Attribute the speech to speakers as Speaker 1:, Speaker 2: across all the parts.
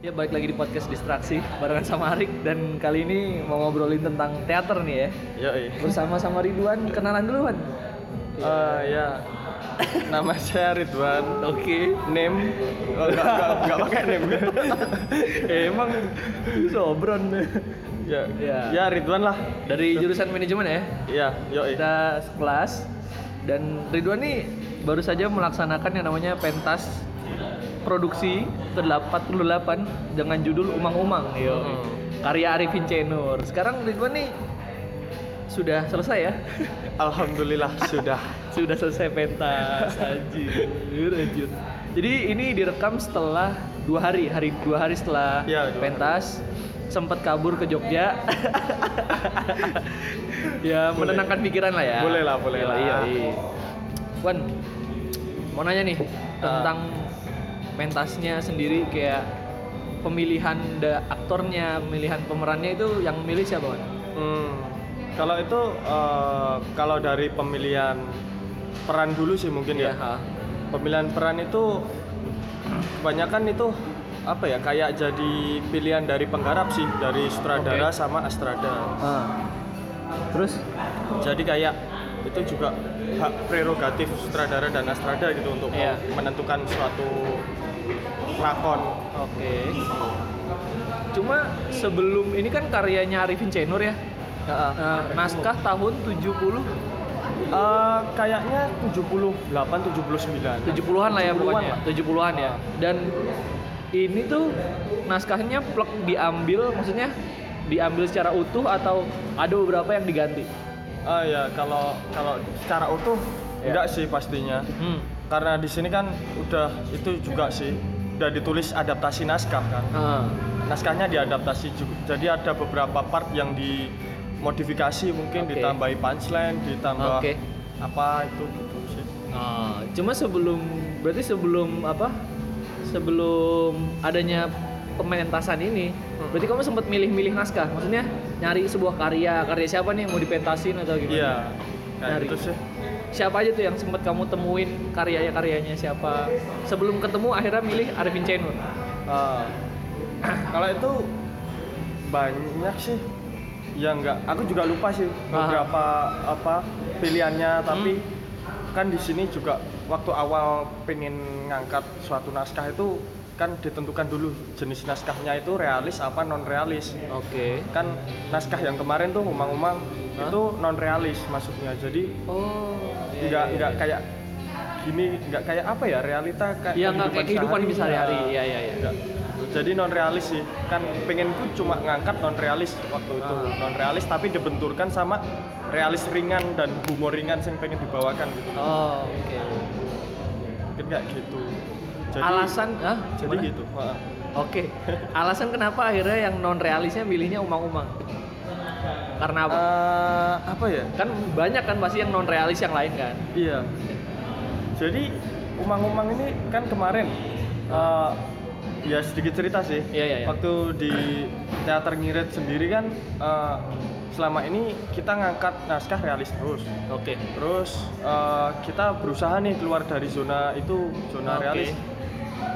Speaker 1: Ya balik lagi di podcast Distraksi barengan sama Arik dan kali ini mau ngobrolin tentang teater nih ya.
Speaker 2: Yoi.
Speaker 1: Bersama sama Ridwan, kenalan duluan.
Speaker 2: Eh, ya. Nama saya Ridwan.
Speaker 1: Oke.
Speaker 2: Name oh, enggak, enggak, enggak pakai name. Eh, emang
Speaker 1: Sobron.
Speaker 2: ya,
Speaker 1: Ya.
Speaker 2: ya. Ridwan lah.
Speaker 1: Dari jurusan manajemen ya.
Speaker 2: Iya, yoi.
Speaker 1: Kita sekelas dan Ridwan nih baru saja melaksanakan yang namanya pentas produksi ke-88 dengan judul Umang-Umang. Yo.
Speaker 2: Hmm.
Speaker 1: Karya Arifin Cenur. Sekarang Ridwan nih sudah selesai ya.
Speaker 2: Alhamdulillah sudah.
Speaker 1: sudah selesai pentas anjir anjir jadi ini direkam setelah dua hari hari dua hari setelah
Speaker 2: Ya, dua
Speaker 1: pentas sempat kabur ke Jogja ya
Speaker 2: Boleh.
Speaker 1: menenangkan pikiran lah ya
Speaker 2: Boleh lah, boleh
Speaker 1: Iya,
Speaker 2: lah.
Speaker 1: iya, iya. Wan mau nanya nih
Speaker 2: Ah.
Speaker 1: tentang pentasnya sendiri kayak pemilihan da- aktornya pemilihan pemerannya itu yang milih siapa Wan?
Speaker 2: Hmm. Kalau itu eh, kalau dari pemilihan peran dulu sih mungkin
Speaker 1: Iya,
Speaker 2: ya.
Speaker 1: ha.
Speaker 2: Pemilihan peran itu kebanyakan itu apa ya kayak jadi pilihan dari penggarap sih dari
Speaker 1: Oke.
Speaker 2: sutradara sama astrada.
Speaker 1: Ah. terus
Speaker 2: jadi kayak itu juga hak prerogatif sutradara dan astrada gitu untuk
Speaker 1: Iya.
Speaker 2: menentukan suatu lakon
Speaker 1: Oke. Cuma sebelum ini kan karyanya Arifin Cenur ya. Eh, naskah tahun 70
Speaker 2: Eh, kayaknya 78 79
Speaker 1: 70-an lah ya
Speaker 2: 70-an
Speaker 1: pokoknya.
Speaker 2: lah.
Speaker 1: 70-an ya. Dan ini tuh naskahnya plek diambil maksudnya diambil secara utuh atau ada beberapa yang diganti.
Speaker 2: ah ya kalau kalau secara utuh
Speaker 1: Iya.
Speaker 2: enggak sih pastinya
Speaker 1: Hmm.
Speaker 2: karena di sini kan udah itu juga sih udah ditulis adaptasi naskah kan
Speaker 1: Ah,
Speaker 2: naskahnya diadaptasi juga jadi ada beberapa part yang dimodifikasi mungkin
Speaker 1: Oke.
Speaker 2: ditambahi punchline ditambah
Speaker 1: Oke.
Speaker 2: apa itu gitu sih
Speaker 1: ah, cuma sebelum berarti sebelum apa? Sebelum adanya pementasan ini, berarti kamu sempat milih-milih naskah. Maksudnya nyari sebuah karya, karya siapa nih yang mau dipentasin atau gimana?
Speaker 2: Iya, kayak
Speaker 1: Dari-
Speaker 2: gitu sih.
Speaker 1: Siapa aja tuh yang sempat kamu temuin karya-karyanya siapa? Sebelum ketemu akhirnya milih Arifin Cenun.
Speaker 2: Ah, kalau itu banyak sih. Ya enggak, aku juga lupa sih beberapa apa pilihannya tapi kan di sini juga waktu awal pengen ngangkat suatu naskah itu kan ditentukan dulu jenis naskahnya itu realis apa non realis.
Speaker 1: Oke.
Speaker 2: Kan naskah yang kemarin tuh umang-umang
Speaker 1: Hah?
Speaker 2: itu non realis maksudnya. Jadi
Speaker 1: Oh. iya,
Speaker 2: nggak
Speaker 1: iya,
Speaker 2: nggak
Speaker 1: iya.
Speaker 2: kayak gini nggak kayak apa ya realita kayak
Speaker 1: Iya, nggak kayak kehidupan
Speaker 2: sehari-hari.
Speaker 1: sehari-hari.
Speaker 2: Nah,
Speaker 1: Iya, iya, iya.
Speaker 2: nggak. jadi non realis sih kan pengenku cuma ngangkat non realis waktu itu
Speaker 1: Ah.
Speaker 2: non realis tapi dibenturkan sama realis ringan dan humor ringan yang pengen dibawakan gitu
Speaker 1: Oh, oke.
Speaker 2: mungkin kayak gitu jadi
Speaker 1: Alasan ah,
Speaker 2: jadi
Speaker 1: gimana?
Speaker 2: gitu ha.
Speaker 1: Oke. Alasan kenapa akhirnya yang non realisnya milihnya umang-umang? Karena apa?
Speaker 2: Eh, apa ya
Speaker 1: kan banyak kan pasti yang non realis yang lain kan.
Speaker 2: Iya. Jadi umang-umang ini kan kemarin eh, ya sedikit cerita sih.
Speaker 1: Iya, iya, iya.
Speaker 2: Waktu di teater ngirit sendiri kan eh, selama ini kita ngangkat naskah realis terus.
Speaker 1: Oke.
Speaker 2: Terus eh, kita berusaha nih keluar dari zona itu zona
Speaker 1: Oke.
Speaker 2: realis.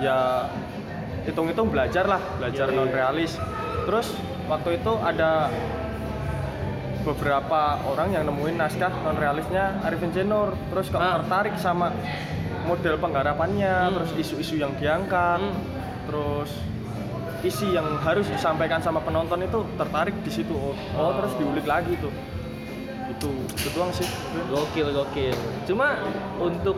Speaker 2: Ya hitung-hitung belajar lah, belajar
Speaker 1: Iya, iya,
Speaker 2: non
Speaker 1: iya.
Speaker 2: realis. Terus waktu itu ada beberapa orang yang nemuin naskah non realisnya Arifin Cenur terus kok
Speaker 1: Ah.
Speaker 2: tertarik sama model penggarapannya
Speaker 1: Hmm.
Speaker 2: terus isu-isu yang diangkat
Speaker 1: Hmm.
Speaker 2: terus isi yang harus disampaikan sama penonton itu tertarik di situ oh, oh,
Speaker 1: Oh.
Speaker 2: terus diulik lagi tuh itu itu doang sih
Speaker 1: Gokil, gokil. Cuma untuk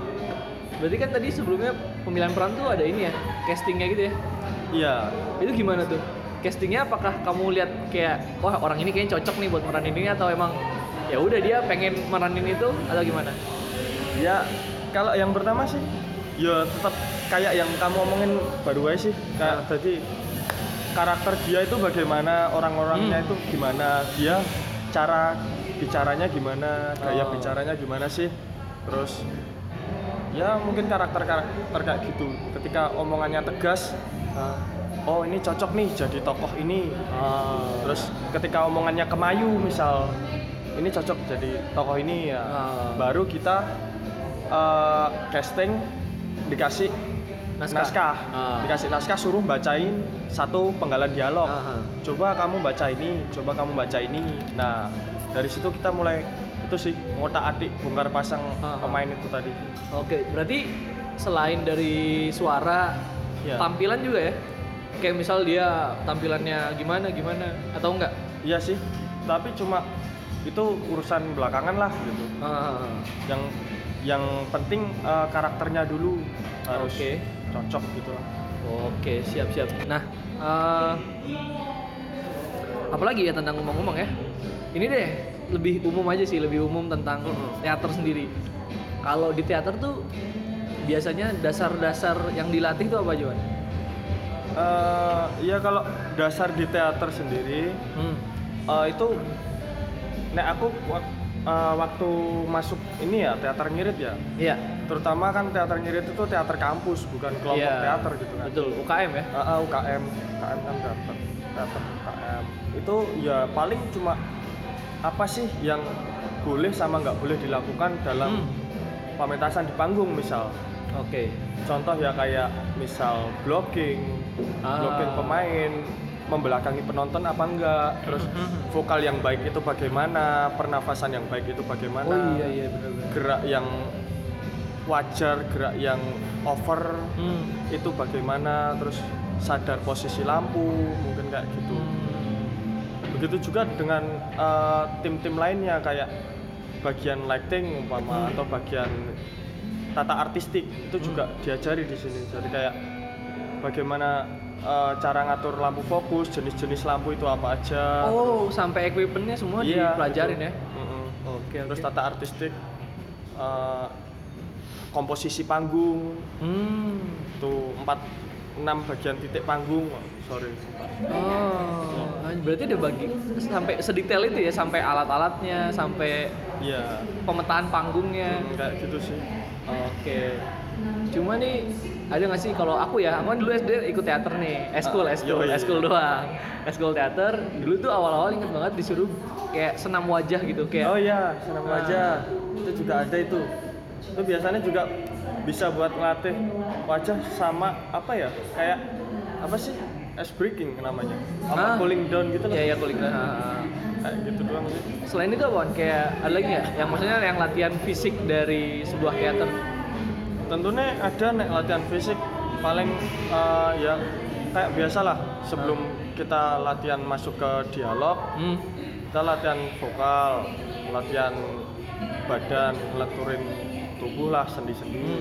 Speaker 1: berarti kan tadi sebelumnya pemilihan peran tuh ada ini ya, castingnya gitu ya.
Speaker 2: iya
Speaker 1: Itu gimana tuh? Castingnya apakah kamu lihat kayak wah orang ini kayaknya cocok nih buat meranin ini atau emang ya udah dia pengen meranin itu atau gimana?
Speaker 2: ya kalau yang pertama sih ya tetap kayak yang kamu omongin baru aja sih kayak
Speaker 1: Ya.
Speaker 2: jadi karakter dia itu bagaimana orang-orangnya
Speaker 1: Hmm.
Speaker 2: itu gimana dia cara bicaranya gimana gaya
Speaker 1: Oh.
Speaker 2: bicaranya gimana sih terus ya mungkin karakter-karakter kayak gitu ketika omongannya tegas oh ini cocok nih jadi tokoh ini
Speaker 1: Ah.
Speaker 2: terus ketika omongannya kemayu misal ini cocok jadi tokoh ini ya
Speaker 1: Ah.
Speaker 2: baru kita eh, casting dikasih
Speaker 1: Naskah.
Speaker 2: naskah.
Speaker 1: Ah.
Speaker 2: Dikasih naskah suruh bacain satu penggalan dialog.
Speaker 1: Aha.
Speaker 2: Coba kamu baca ini, coba kamu baca ini. Nah, dari situ kita mulai itu sih ngotak atik bongkar pasang
Speaker 1: Aha.
Speaker 2: pemain itu tadi.
Speaker 1: Oke, berarti selain dari suara,
Speaker 2: Iya.
Speaker 1: tampilan juga ya? Kayak misal dia tampilannya gimana gimana atau enggak?
Speaker 2: Iya sih, tapi cuma itu urusan belakangan lah gitu.
Speaker 1: Ah,
Speaker 2: Yang yang penting eh, karakternya dulu harus
Speaker 1: Oke.
Speaker 2: cocok gitu lah.
Speaker 1: Oke, siap siap. Nah, eh apalagi ya tentang ngomong-ngomong ya? Ini deh lebih umum aja sih, lebih umum tentang teater sendiri. Kalau di teater tuh biasanya dasar-dasar yang dilatih tuh apa Johan?
Speaker 2: Eh, Iya kalau dasar di teater sendiri
Speaker 1: Hmm.
Speaker 2: eh, itu, nek aku wak- eh, waktu masuk ini ya teater ngirit ya,
Speaker 1: Iya.
Speaker 2: terutama kan teater ngirit itu teater kampus bukan kelompok
Speaker 1: Iya.
Speaker 2: teater gitu kan.
Speaker 1: Betul, UKM ya.
Speaker 2: Ah, ah, UKM, UKM kan dapat dapat UKM. Itu ya paling cuma apa sih yang boleh sama nggak boleh dilakukan dalam
Speaker 1: Hmm.
Speaker 2: pamentasan di panggung misal.
Speaker 1: Oke.
Speaker 2: Contoh ya kayak misal blocking,
Speaker 1: Ah.
Speaker 2: blocking pemain, membelakangi penonton apa enggak, terus
Speaker 1: Mhm.
Speaker 2: vokal yang baik itu bagaimana, pernafasan yang baik itu bagaimana,
Speaker 1: Oh iya iya benar-benar.
Speaker 2: gerak yang wajar, gerak yang over,
Speaker 1: Hmm.
Speaker 2: itu bagaimana terus sadar posisi lampu mungkin kayak gitu
Speaker 1: Hmm.
Speaker 2: begitu juga dengan eh, tim-tim lainnya kayak bagian lighting
Speaker 1: Hmm.
Speaker 2: umpama atau bagian tata artistik itu juga diajari di sini jadi kayak bagaimana eh, cara ngatur lampu fokus jenis-jenis lampu itu apa aja
Speaker 1: Oh, sampai equipmentnya semua
Speaker 2: Iya,
Speaker 1: dipelajarin
Speaker 2: gitu.
Speaker 1: ya.
Speaker 2: Mm-mm.
Speaker 1: Oke,
Speaker 2: terus tata artistik eh, komposisi panggung
Speaker 1: Hmm.
Speaker 2: tuh empat enam bagian titik panggung Oh, sorry
Speaker 1: Oh, ah, berarti ada bagi sampai sedetail itu ya, sampai alat-alatnya, sampai
Speaker 2: iya
Speaker 1: pemetaan panggungnya.
Speaker 2: enggak gitu sih
Speaker 1: Oke. Cuma nih ada nggak sih kalau aku ya, aku kan dulu SD ikut teater nih, eskul,
Speaker 2: Ah,
Speaker 1: eskul,
Speaker 2: yoi.
Speaker 1: eskul doang, eskul teater. Dulu tuh awal-awal inget banget disuruh kayak senam wajah gitu, kayak
Speaker 2: oh iya senam
Speaker 1: Ah.
Speaker 2: wajah itu juga ada itu itu biasanya juga bisa buat ngelatih wajah sama apa ya kayak apa sih ice breaking namanya
Speaker 1: Ah.
Speaker 2: apa cooling down gitu
Speaker 1: ya
Speaker 2: lah
Speaker 1: ya kulit. Ah.
Speaker 2: kayak gitu doang sih
Speaker 1: Selain itu Wan, kayak ada lagi nggak? Yang maksudnya yang latihan fisik dari sebuah teater.
Speaker 2: tentunya ada nek latihan fisik paling eh, ya kayak biasalah sebelum kita latihan masuk ke dialog
Speaker 1: Hmm.
Speaker 2: kita latihan vokal latihan badan ngeleturin tubuh lah sendi-sendi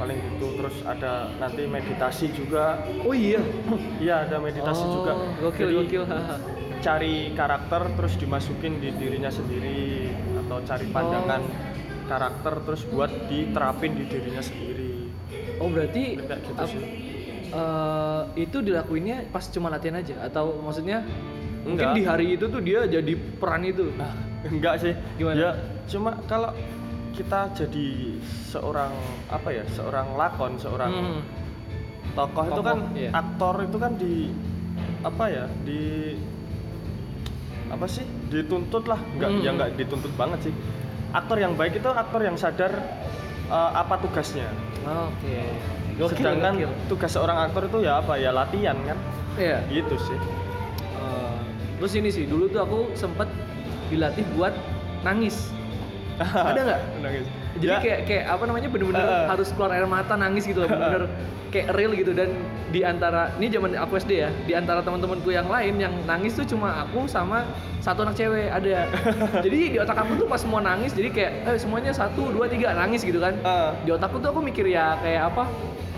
Speaker 2: paling gitu terus ada nanti meditasi juga
Speaker 1: Oh iya.
Speaker 2: iya ada meditasi
Speaker 1: Oh,
Speaker 2: juga
Speaker 1: Gokil
Speaker 2: Jadi,
Speaker 1: gokil.
Speaker 2: cari karakter terus dimasukin di dirinya sendiri atau cari pandangan
Speaker 1: Oh.
Speaker 2: karakter terus buat diterapin di dirinya sendiri
Speaker 1: oh berarti
Speaker 2: Kayak gitu
Speaker 1: ap-
Speaker 2: sih.
Speaker 1: eh, itu dilakuinnya pas cuma latihan aja atau maksudnya mungkin
Speaker 2: Enggak. Nah,
Speaker 1: di hari itu tuh dia jadi peran itu.
Speaker 2: enggak sih
Speaker 1: Gimana?
Speaker 2: ya cuma kalau kita jadi seorang apa ya seorang lakon seorang
Speaker 1: Hmm.
Speaker 2: tokoh itu
Speaker 1: Tokoh,
Speaker 2: kan
Speaker 1: iya.
Speaker 2: aktor itu kan di apa ya di apa sih dituntut lah nggak
Speaker 1: Hmm.
Speaker 2: ya nggak dituntut banget sih aktor yang baik itu aktor yang sadar eh, apa tugasnya
Speaker 1: Oke. Gokil.
Speaker 2: sedangkan
Speaker 1: gokil.
Speaker 2: tugas seorang aktor itu ya apa ya latihan kan
Speaker 1: Iya.
Speaker 2: gitu sih
Speaker 1: Eh, terus ini sih dulu tuh aku sempet dilatih buat nangis. Ada nggak?
Speaker 2: Nangis.
Speaker 1: Jadi
Speaker 2: Ya,
Speaker 1: kayak kayak apa namanya bener-bener
Speaker 2: Heeh.
Speaker 1: harus keluar air mata nangis gitu loh, bener-bener kayak real gitu dan di antara ini zaman aku SD ya, di antara teman-temanku yang lain yang nangis tuh cuma aku sama satu anak cewek ada. jadi di otak aku tuh pas semua nangis jadi kayak eh semuanya satu dua tiga nangis gitu kan.
Speaker 2: eh,
Speaker 1: Di otakku tuh aku mikir ya kayak apa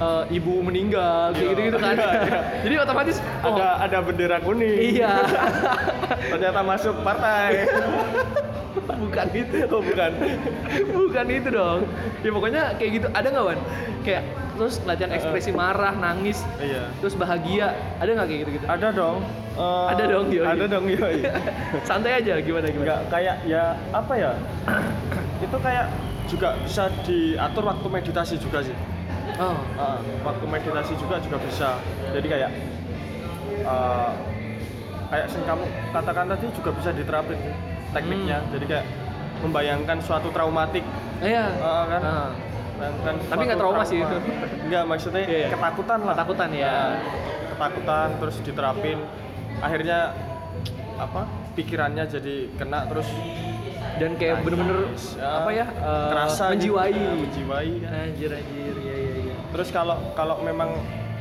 Speaker 1: eh, ibu meninggal kayak
Speaker 2: Iya.
Speaker 1: gitu-gitu kan.
Speaker 2: Iya, iya.
Speaker 1: jadi otomatis oh,
Speaker 2: ada ada bendera kuning
Speaker 1: iya.
Speaker 2: ternyata masuk partai
Speaker 1: Bukan itu.
Speaker 2: oh bukan
Speaker 1: Bukan itu dong. Ya pokoknya kayak gitu. Ada nggak Wan? Kayak terus latihan ekspresi marah, nangis,
Speaker 2: iya
Speaker 1: terus bahagia. Ada nggak kayak gitu-gitu?
Speaker 2: ada dong eh,
Speaker 1: Ada dong, yoi.
Speaker 2: ada dong yoi
Speaker 1: Santai aja gimana gimana.
Speaker 2: nggak kayak ya apa ya itu kayak juga bisa diatur waktu meditasi juga sih
Speaker 1: Oh.
Speaker 2: Ah, waktu meditasi juga juga bisa jadi kayak eh, kayak yang kamu katakan tadi juga bisa diterapin sih
Speaker 1: Hmm.
Speaker 2: tekniknya jadi kayak membayangkan suatu traumatik
Speaker 1: Iya.
Speaker 2: Ah, kan?
Speaker 1: Ah.
Speaker 2: Bukan- bukan
Speaker 1: Tapi nggak
Speaker 2: suatu
Speaker 1: trauma sih itu.
Speaker 2: nggak maksudnya
Speaker 1: Iya, iya.
Speaker 2: ketakutan lah
Speaker 1: Ketakutan, ya.
Speaker 2: Nah, ketakutan terus diterapin akhirnya apa pikirannya jadi kena terus
Speaker 1: dan kayak bener-bener
Speaker 2: ya,
Speaker 1: apa ya eh,
Speaker 2: kerasa gitu.
Speaker 1: menjiwai
Speaker 2: Ya, menjiwai kan.
Speaker 1: anjir anjir ya ya ya
Speaker 2: terus kalau kalau memang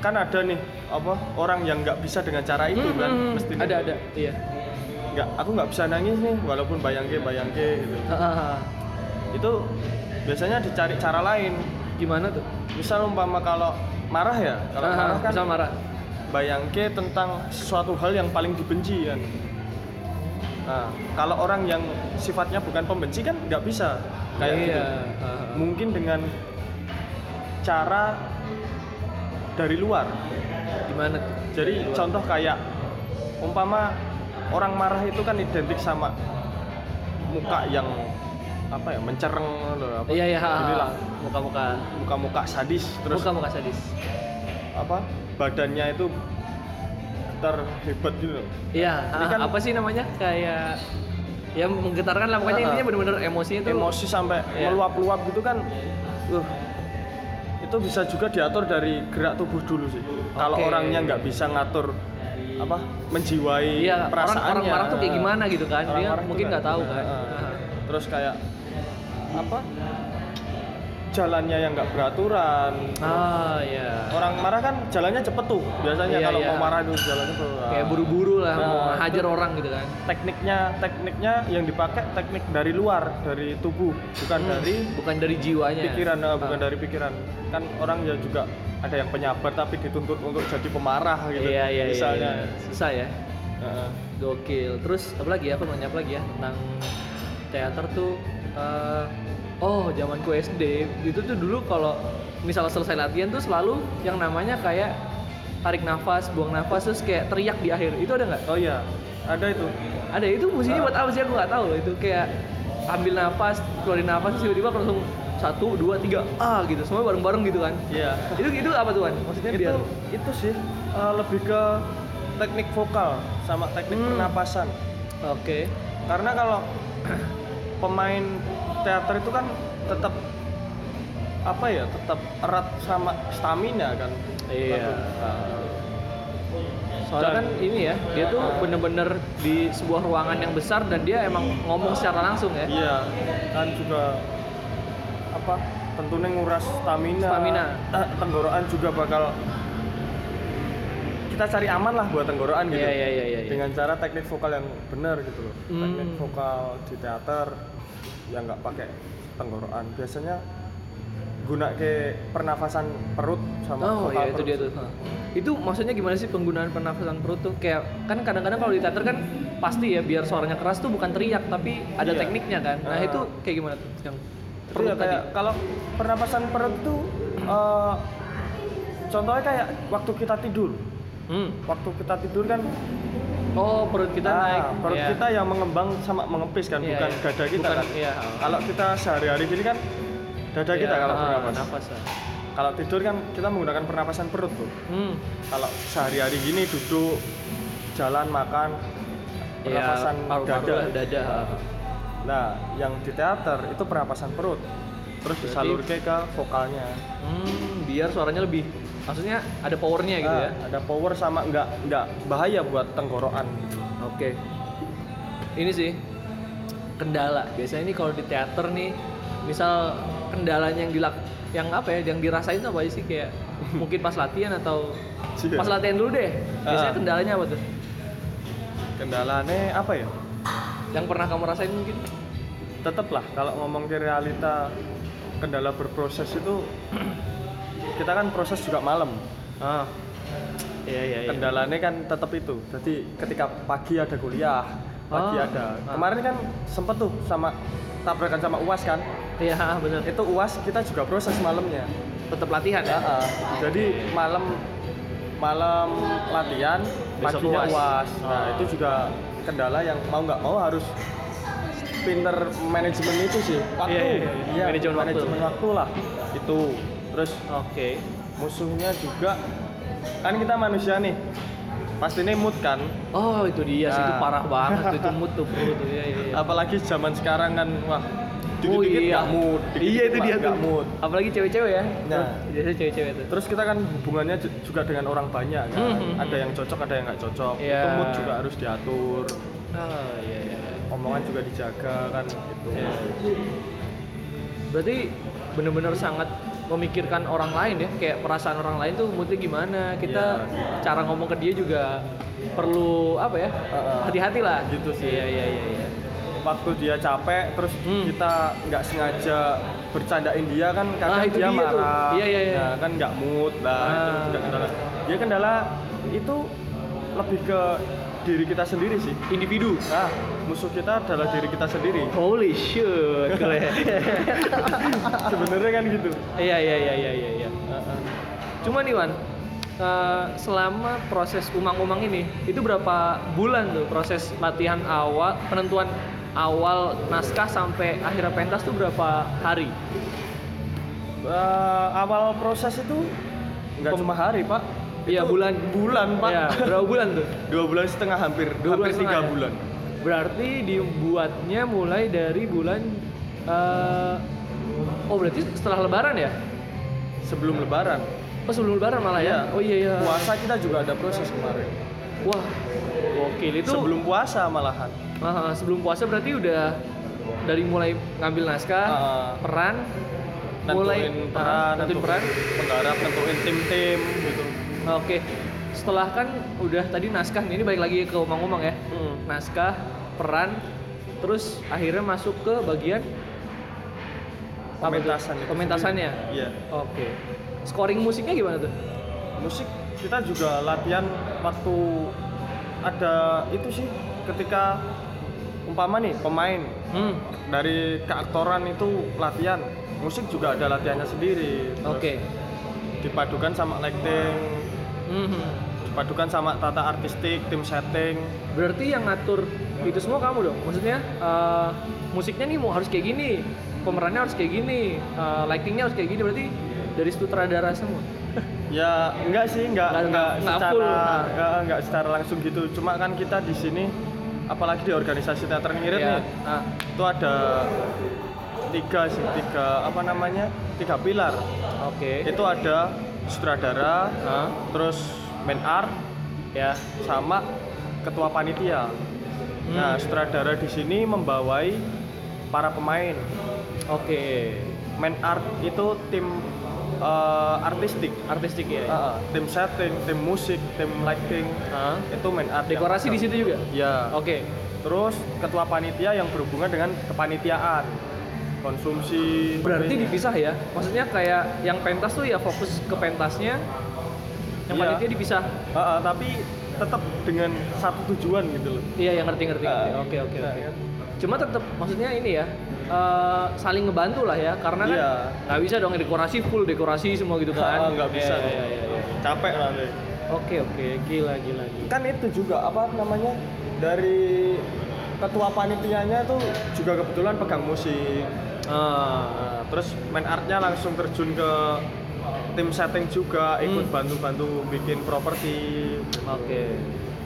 Speaker 2: kan ada nih apa orang yang nggak bisa dengan cara itu kan mesti
Speaker 1: Hmm, ada ada iya
Speaker 2: nggak aku nggak bisa nangis nih walaupun bayangke bayangke gitu
Speaker 1: Ah,
Speaker 2: itu biasanya dicari cara lain
Speaker 1: gimana tuh
Speaker 2: misal umpama kalau marah ya kalau
Speaker 1: Ah,
Speaker 2: marah kan
Speaker 1: bisa marah
Speaker 2: bayangke tentang sesuatu hal yang paling dibenci kan nah kalau orang yang sifatnya bukan pembenci kan nggak bisa kayak
Speaker 1: iya.
Speaker 2: gitu
Speaker 1: Ah.
Speaker 2: mungkin dengan cara dari luar
Speaker 1: gimana tuh
Speaker 2: jadi
Speaker 1: Luar.
Speaker 2: contoh kayak umpama orang marah itu kan identik sama muka yang apa ya mencereng loh apa
Speaker 1: iya iya ah,
Speaker 2: Inilah.
Speaker 1: muka-muka
Speaker 2: muka-muka sadis terus
Speaker 1: muka-muka sadis
Speaker 2: apa badannya itu terhebat gitu loh.
Speaker 1: iya
Speaker 2: Ini
Speaker 1: ah,
Speaker 2: kan-
Speaker 1: apa sih namanya kayak ya menggetarkan lah pokoknya
Speaker 2: Ah, ah.
Speaker 1: intinya bener-bener emosi itu
Speaker 2: emosi sampai
Speaker 1: Iya.
Speaker 2: meluap-luap gitu kan
Speaker 1: uh,
Speaker 2: itu bisa juga diatur dari gerak tubuh dulu sih kalau
Speaker 1: Oke.
Speaker 2: orangnya nggak bisa ngatur apa menjiwai
Speaker 1: iya orang
Speaker 2: perasaannya
Speaker 1: orang marah tuh kayak gimana gitu kan
Speaker 2: Orang
Speaker 1: dia
Speaker 2: marah tuh
Speaker 1: mungkin
Speaker 2: kayak
Speaker 1: nggak tahu
Speaker 2: gimana.
Speaker 1: kan
Speaker 2: Ah.
Speaker 1: Ah.
Speaker 2: terus kayak apa jalannya yang nggak beraturan
Speaker 1: Ah ya.
Speaker 2: orang marah kan jalannya cepet tuh biasanya
Speaker 1: Iya,
Speaker 2: kalau
Speaker 1: iya.
Speaker 2: mau marah tuh jalannya tuh ah.
Speaker 1: Kayak buru-buru lah
Speaker 2: Nah,
Speaker 1: mau hajar
Speaker 2: itu-
Speaker 1: orang gitu kan.
Speaker 2: tekniknya tekniknya yang dipakai teknik dari luar dari tubuh bukan
Speaker 1: Hmm.
Speaker 2: dari
Speaker 1: Bukan dari jiwanya.
Speaker 2: Nah. pikiran ah, bukan dari pikiran kan orang ya juga ada yang penyabar tapi dituntut untuk jadi pemarah
Speaker 1: Iya
Speaker 2: gitu
Speaker 1: iya iya,
Speaker 2: misalnya
Speaker 1: iya. Susah ya.
Speaker 2: Heeh.
Speaker 1: Gokil. Terus apa lagi ya? Aku mau nanya apa lagi ya tentang teater tuh eh, oh, zamanku SD itu tuh dulu kalau misal selesai latihan tuh selalu yang namanya kayak tarik nafas, buang nafas terus kayak teriak di akhir. Itu ada nggak?
Speaker 2: oh iya ada itu
Speaker 1: Ada itu fungsinya
Speaker 2: Ah.
Speaker 1: buat apa sih aku nggak tahu loh itu kayak ambil nafas, keluarin nafas terus tiba-tiba langsung satu, dua, tiga, ah gitu semua bareng-bareng gitu kan
Speaker 2: iya
Speaker 1: itu itu apa tuh kan maksudnya
Speaker 2: itu
Speaker 1: biar
Speaker 2: itu sih eh, lebih ke teknik vokal sama teknik
Speaker 1: Hmm.
Speaker 2: pernapasan
Speaker 1: oke
Speaker 2: karena kalau pemain teater itu kan tetap apa ya tetap erat sama stamina kan
Speaker 1: Iya.
Speaker 2: Ah.
Speaker 1: soalnya
Speaker 2: Dan-
Speaker 1: kan ini ya dia tuh bener-bener di sebuah ruangan yang besar dan dia emang ngomong secara langsung ya
Speaker 2: Iya, kan juga apa? Tentunya nguras stamina.
Speaker 1: Stamina.
Speaker 2: Eh, tenggorokan juga bakal kita cari aman lah buat tenggorokan gitu.
Speaker 1: Iya, iya, iya, iya, iya.
Speaker 2: Dengan cara teknik vokal yang benar gitu loh. Teknik
Speaker 1: Hmm.
Speaker 2: vokal di teater yang nggak pakai tenggorokan. Biasanya guna ke pernafasan perut sama
Speaker 1: oh iya
Speaker 2: vokal
Speaker 1: itu
Speaker 2: perut.
Speaker 1: dia tuh Hah. itu maksudnya gimana sih penggunaan pernafasan perut tuh kayak kan kadang-kadang kalau di teater kan pasti ya biar suaranya keras tuh bukan teriak tapi ada
Speaker 2: Iya.
Speaker 1: tekniknya kan nah
Speaker 2: Ah.
Speaker 1: itu kayak gimana tuh yang
Speaker 2: Itu
Speaker 1: perut
Speaker 2: ya
Speaker 1: tadi
Speaker 2: kayak kalau pernapasan perut tuh eh, contohnya kayak waktu kita tidur.
Speaker 1: hmm.
Speaker 2: Waktu kita tidur kan
Speaker 1: oh perut kita
Speaker 2: Ah,
Speaker 1: naik
Speaker 2: perut
Speaker 1: Iya.
Speaker 2: kita yang mengembang sama mengepis kan,
Speaker 1: Iya,
Speaker 2: bukan
Speaker 1: iya.
Speaker 2: dada kita
Speaker 1: Bukan-
Speaker 2: kan.
Speaker 1: iya.
Speaker 2: Kalau kita sehari-hari gini kan dada
Speaker 1: Iya,
Speaker 2: kita kalau
Speaker 1: ah,
Speaker 2: bernapas.
Speaker 1: nafas ah.
Speaker 2: Kalau tidur kan kita menggunakan pernapasan perut tuh.
Speaker 1: hmm.
Speaker 2: Kalau sehari-hari gini duduk, jalan, makan, pernapasan
Speaker 1: ya, paru
Speaker 2: dada.
Speaker 1: dada. ah.
Speaker 2: Nah, yang di teater itu pernapasan perut. Terus
Speaker 1: Berarti-
Speaker 2: disalurkan ke vokalnya.
Speaker 1: Hmm, biar suaranya lebih maksudnya ada powernya gitu
Speaker 2: Ah,
Speaker 1: ya.
Speaker 2: Ada power sama nggak nggak bahaya buat tenggorokan.
Speaker 1: Oke. Ini sih kendala. Biasanya ini kalau di teater nih, misal kendalanya yang dilak yang apa ya, yang dirasain tuh apa sih kayak mungkin pas latihan atau
Speaker 2: Iya.
Speaker 1: pas latihan dulu deh. Biasanya
Speaker 2: Ah.
Speaker 1: kendalanya apa tuh?
Speaker 2: Kendalanya Iya. apa ya?
Speaker 1: Yang pernah kamu rasain mungkin?
Speaker 2: tetaplah kalau ngomong ke realita kendala berproses itu kita kan proses juga malam
Speaker 1: Ah. Iya iya
Speaker 2: kendalanya kan tetap itu jadi ketika pagi ada kuliah pagi
Speaker 1: Ah.
Speaker 2: ada
Speaker 1: Ah.
Speaker 2: kemarin kan sempet tuh sama tabrakan sama uas kan
Speaker 1: Iya, benar.
Speaker 2: itu uas kita juga proses malamnya
Speaker 1: Tetap latihan ya.
Speaker 2: Ah, ah. jadi malam malam latihan
Speaker 1: Besok
Speaker 2: paginya
Speaker 1: UAS.
Speaker 2: uas nah
Speaker 1: Ah.
Speaker 2: itu juga kendala yang mau nggak mau harus pinter manajemen itu sih waktu
Speaker 1: Iya, iya, iya.
Speaker 2: Iya,
Speaker 1: Manajemen waktu.
Speaker 2: waktu lah itu terus
Speaker 1: Oke.
Speaker 2: musuhnya juga kan kita manusia nih pasti ini mood kan
Speaker 1: Oh, itu dia sih itu
Speaker 2: Nah.
Speaker 1: parah banget itu mood tuh bro. tuh. Iya iya. iya.
Speaker 2: apalagi zaman sekarang kan wah
Speaker 1: Oh
Speaker 2: Dikit-dikit
Speaker 1: iya.
Speaker 2: nggak mood, dikit-dikit
Speaker 1: Iya itu dia
Speaker 2: nggak
Speaker 1: tuh.
Speaker 2: mood.
Speaker 1: Apalagi cewek-cewek ya.
Speaker 2: Nah.
Speaker 1: Biasanya cewek-cewek tuh.
Speaker 2: Terus kita kan hubungannya ju- juga dengan orang banyak kan.
Speaker 1: Hmm, hmm,
Speaker 2: Ada yang cocok, ada yang nggak cocok.
Speaker 1: Iya.
Speaker 2: Itu mood juga harus diatur.
Speaker 1: Oh iya iya.
Speaker 2: Omongan juga dijaga kan gitu.
Speaker 1: Iya. Berarti bener-bener sangat memikirkan orang lain ya, kayak perasaan orang lain tuh moodnya gimana. Kita cara ngomong ke dia juga perlu apa ya?
Speaker 2: Heeh.
Speaker 1: Hati-hati lah.
Speaker 2: Gitu sih.
Speaker 1: Iya iya iya. iya.
Speaker 2: Waktu dia capek, terus
Speaker 1: Hmm.
Speaker 2: kita nggak sengaja bercandain dia kan
Speaker 1: Ah,
Speaker 2: karena
Speaker 1: itu
Speaker 2: dia,
Speaker 1: dia tuh.
Speaker 2: marah.
Speaker 1: Iya, iya, iya.
Speaker 2: Nah, kan nggak mood lah. itu
Speaker 1: Ah.
Speaker 2: juga kendala. Dia kendala itu lebih ke diri kita sendiri sih.
Speaker 1: Individu.
Speaker 2: Nah, musuh kita adalah diri kita sendiri.
Speaker 1: Holy shit, keren.
Speaker 2: Sebenarnya kan gitu.
Speaker 1: Iya iya iya iya iya. iya. Cuman Iwan, eh, selama proses umang-umang ini itu berapa bulan tuh proses latihan awal penentuan awal naskah sampai akhirnya pentas tuh berapa hari?
Speaker 2: Eh, awal proses itu nggak
Speaker 1: Pem-
Speaker 2: cuma hari pak
Speaker 1: Iya
Speaker 2: Itu
Speaker 1: bulan.
Speaker 2: bulan pak
Speaker 1: Iya, berapa bulan tuh?
Speaker 2: dua bulan setengah hampir
Speaker 1: Dua
Speaker 2: hampir
Speaker 1: bulan
Speaker 2: tiga
Speaker 1: setengah ya?
Speaker 2: bulan
Speaker 1: Berarti dibuatnya mulai dari bulan eh, Oh berarti setelah lebaran ya?
Speaker 2: sebelum lebaran
Speaker 1: Oh sebelum lebaran malah ya? Oh iya iya.
Speaker 2: puasa kita juga ada proses kemarin
Speaker 1: Wah. Gokil itu.
Speaker 2: sebelum puasa malahan
Speaker 1: Ah, sebelum puasa berarti udah dari mulai ngambil naskah,
Speaker 2: Ah.
Speaker 1: peran, mulai
Speaker 2: Eh, nentuin peran
Speaker 1: nentuin peran.
Speaker 2: penggarap nentuin tim tim gitu
Speaker 1: Nah, Oke. Setelah kan udah tadi naskah nih, ini balik lagi ke omong-omong ya. Naskah, peran, terus akhirnya masuk ke bagian apa tuh?
Speaker 2: pementasan itu
Speaker 1: Pementasannya.
Speaker 2: sendiri. iya
Speaker 1: Oke. Scoring musiknya gimana tuh?
Speaker 2: musik kita juga latihan waktu ada itu sih ketika umpama nih pemain
Speaker 1: Hmm.
Speaker 2: dari keaktoran itu latihan musik juga ada latihannya sendiri Terus
Speaker 1: Oke.
Speaker 2: dipadukan sama lighting
Speaker 1: Mhm.
Speaker 2: dipadukan sama tata artistik tim setting
Speaker 1: Berarti yang ngatur itu semua kamu dong. Maksudnya eh, musiknya nih mau harus kayak gini, pemerannya harus kayak gini, eh, lightingnya harus kayak gini. Berarti dari sutradara semua.
Speaker 2: ya enggak sih enggak
Speaker 1: Nggak-
Speaker 2: enggak
Speaker 1: nggak
Speaker 2: secara
Speaker 1: full.
Speaker 2: enggak, enggak secara langsung gitu cuma kan kita di sini apalagi di organisasi teater ngirit
Speaker 1: Ya.
Speaker 2: nih
Speaker 1: Ah,
Speaker 2: itu ada tiga sih tiga apa namanya tiga pilar
Speaker 1: Oke.
Speaker 2: itu ada sutradara
Speaker 1: Ah,
Speaker 2: terus main art
Speaker 1: Ya.
Speaker 2: sama ketua panitia. Nah, sutradara di sini membawai para pemain.
Speaker 1: Oke.
Speaker 2: Main art itu tim eh, artistik,
Speaker 1: Artistik ya.
Speaker 2: Ah, ah. tim setting, tim musik, tim lighting.
Speaker 1: Ah.
Speaker 2: Itu main art. yang-
Speaker 1: Dekorasi di Oh. situ juga.
Speaker 2: Ya.
Speaker 1: Oke.
Speaker 2: Terus ketua panitia yang berhubungan dengan kepanitiaan, konsumsi.
Speaker 1: Berarti
Speaker 2: sebagainya.
Speaker 1: dipisah ya. Maksudnya kayak yang pentas tuh ya fokus ke pentasnya. Yang
Speaker 2: Iya.
Speaker 1: panitia dipisah.
Speaker 2: Ah, ah, tapi tetap dengan satu tujuan gitu loh.
Speaker 1: Iya, yang ngerti ngerti. ngerti.
Speaker 2: Ah,
Speaker 1: Oke, oke,
Speaker 2: nah,
Speaker 1: oke.
Speaker 2: kan.
Speaker 1: Cuma tetap maksudnya ini ya. eh, saling ngebantu lah ya karena kan
Speaker 2: Iya.
Speaker 1: nggak bisa dong dekorasi full dekorasi semua gitu
Speaker 2: Ah, ah,
Speaker 1: kan
Speaker 2: nggak bisa.
Speaker 1: Iya, iya, iya, iya.
Speaker 2: Capek lah deh.
Speaker 1: oke oke gila gila gila
Speaker 2: kan itu juga apa namanya dari ketua panitianya tuh juga kebetulan pegang musik
Speaker 1: Ah,
Speaker 2: Nah, terus main artnya langsung terjun ke tim setting juga ikut
Speaker 1: Hmm.
Speaker 2: bantu-bantu bikin properti
Speaker 1: oke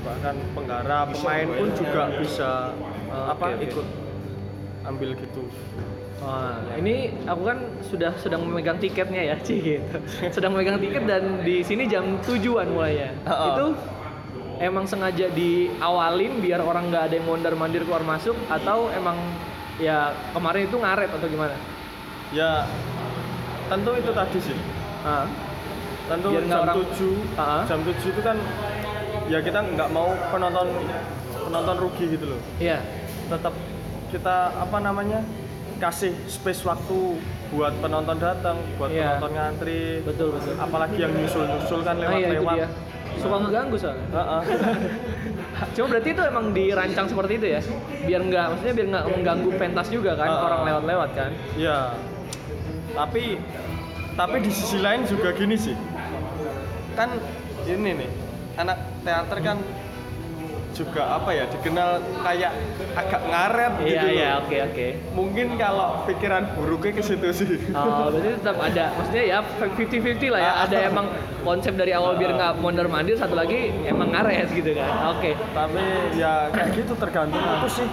Speaker 2: bahkan penggarap pemain pun juga bisa eh,
Speaker 1: Ah, ya. oke,
Speaker 2: apa
Speaker 1: oke.
Speaker 2: ikut ambil gitu
Speaker 1: Wah, ini aku kan sudah sedang memegang tiketnya ya, Ci gitu. Sedang memegang tiket dan di sini jam tujuan mulainya.
Speaker 2: Oh.
Speaker 1: Itu emang sengaja diawalin biar orang nggak ada yang mondar-mandir keluar masuk atau emang ya kemarin itu ngaret atau gimana?
Speaker 2: ya tentu itu tadi sih
Speaker 1: Ah,
Speaker 2: tentu
Speaker 1: Biar nggak
Speaker 2: jam
Speaker 1: orang-
Speaker 2: 7
Speaker 1: Ah.
Speaker 2: jam 7 itu kan ya kita nggak mau penonton penonton rugi gitu loh
Speaker 1: iya.
Speaker 2: tetap kita apa namanya kasih space waktu buat penonton datang, buat
Speaker 1: Iya.
Speaker 2: penonton ngantri,
Speaker 1: Betul, betul.
Speaker 2: apalagi yang nyusul-nyusul kan
Speaker 1: Ah, iya, itu
Speaker 2: lewat-lewat.
Speaker 1: dia. Suka ngeganggu soalnya.
Speaker 2: Heeh.
Speaker 1: Cuma berarti itu emang dirancang seperti itu ya, biar nggak, maksudnya biar nggak mengganggu pentas juga kan,
Speaker 2: Ah.
Speaker 1: orang lewat-lewat kan.
Speaker 2: Iya. Tapi tapi di sisi lain juga gini sih. Kan ini nih, anak teater kan juga apa ya dikenal kayak agak ngaret
Speaker 1: Iya
Speaker 2: gitu. loh.
Speaker 1: iya, oke oke.
Speaker 2: Mungkin kalau pikiran buruknya ke situ sih.
Speaker 1: Oh, berarti tetap ada. Maksudnya ya 50-50 lah ya.
Speaker 2: Ah.
Speaker 1: Ada emang konsep dari awal biar nggak mondar mandir. Satu lagi emang ngaret gitu kan. Oke.
Speaker 2: tapi ya kayak gitu tergantung aku sih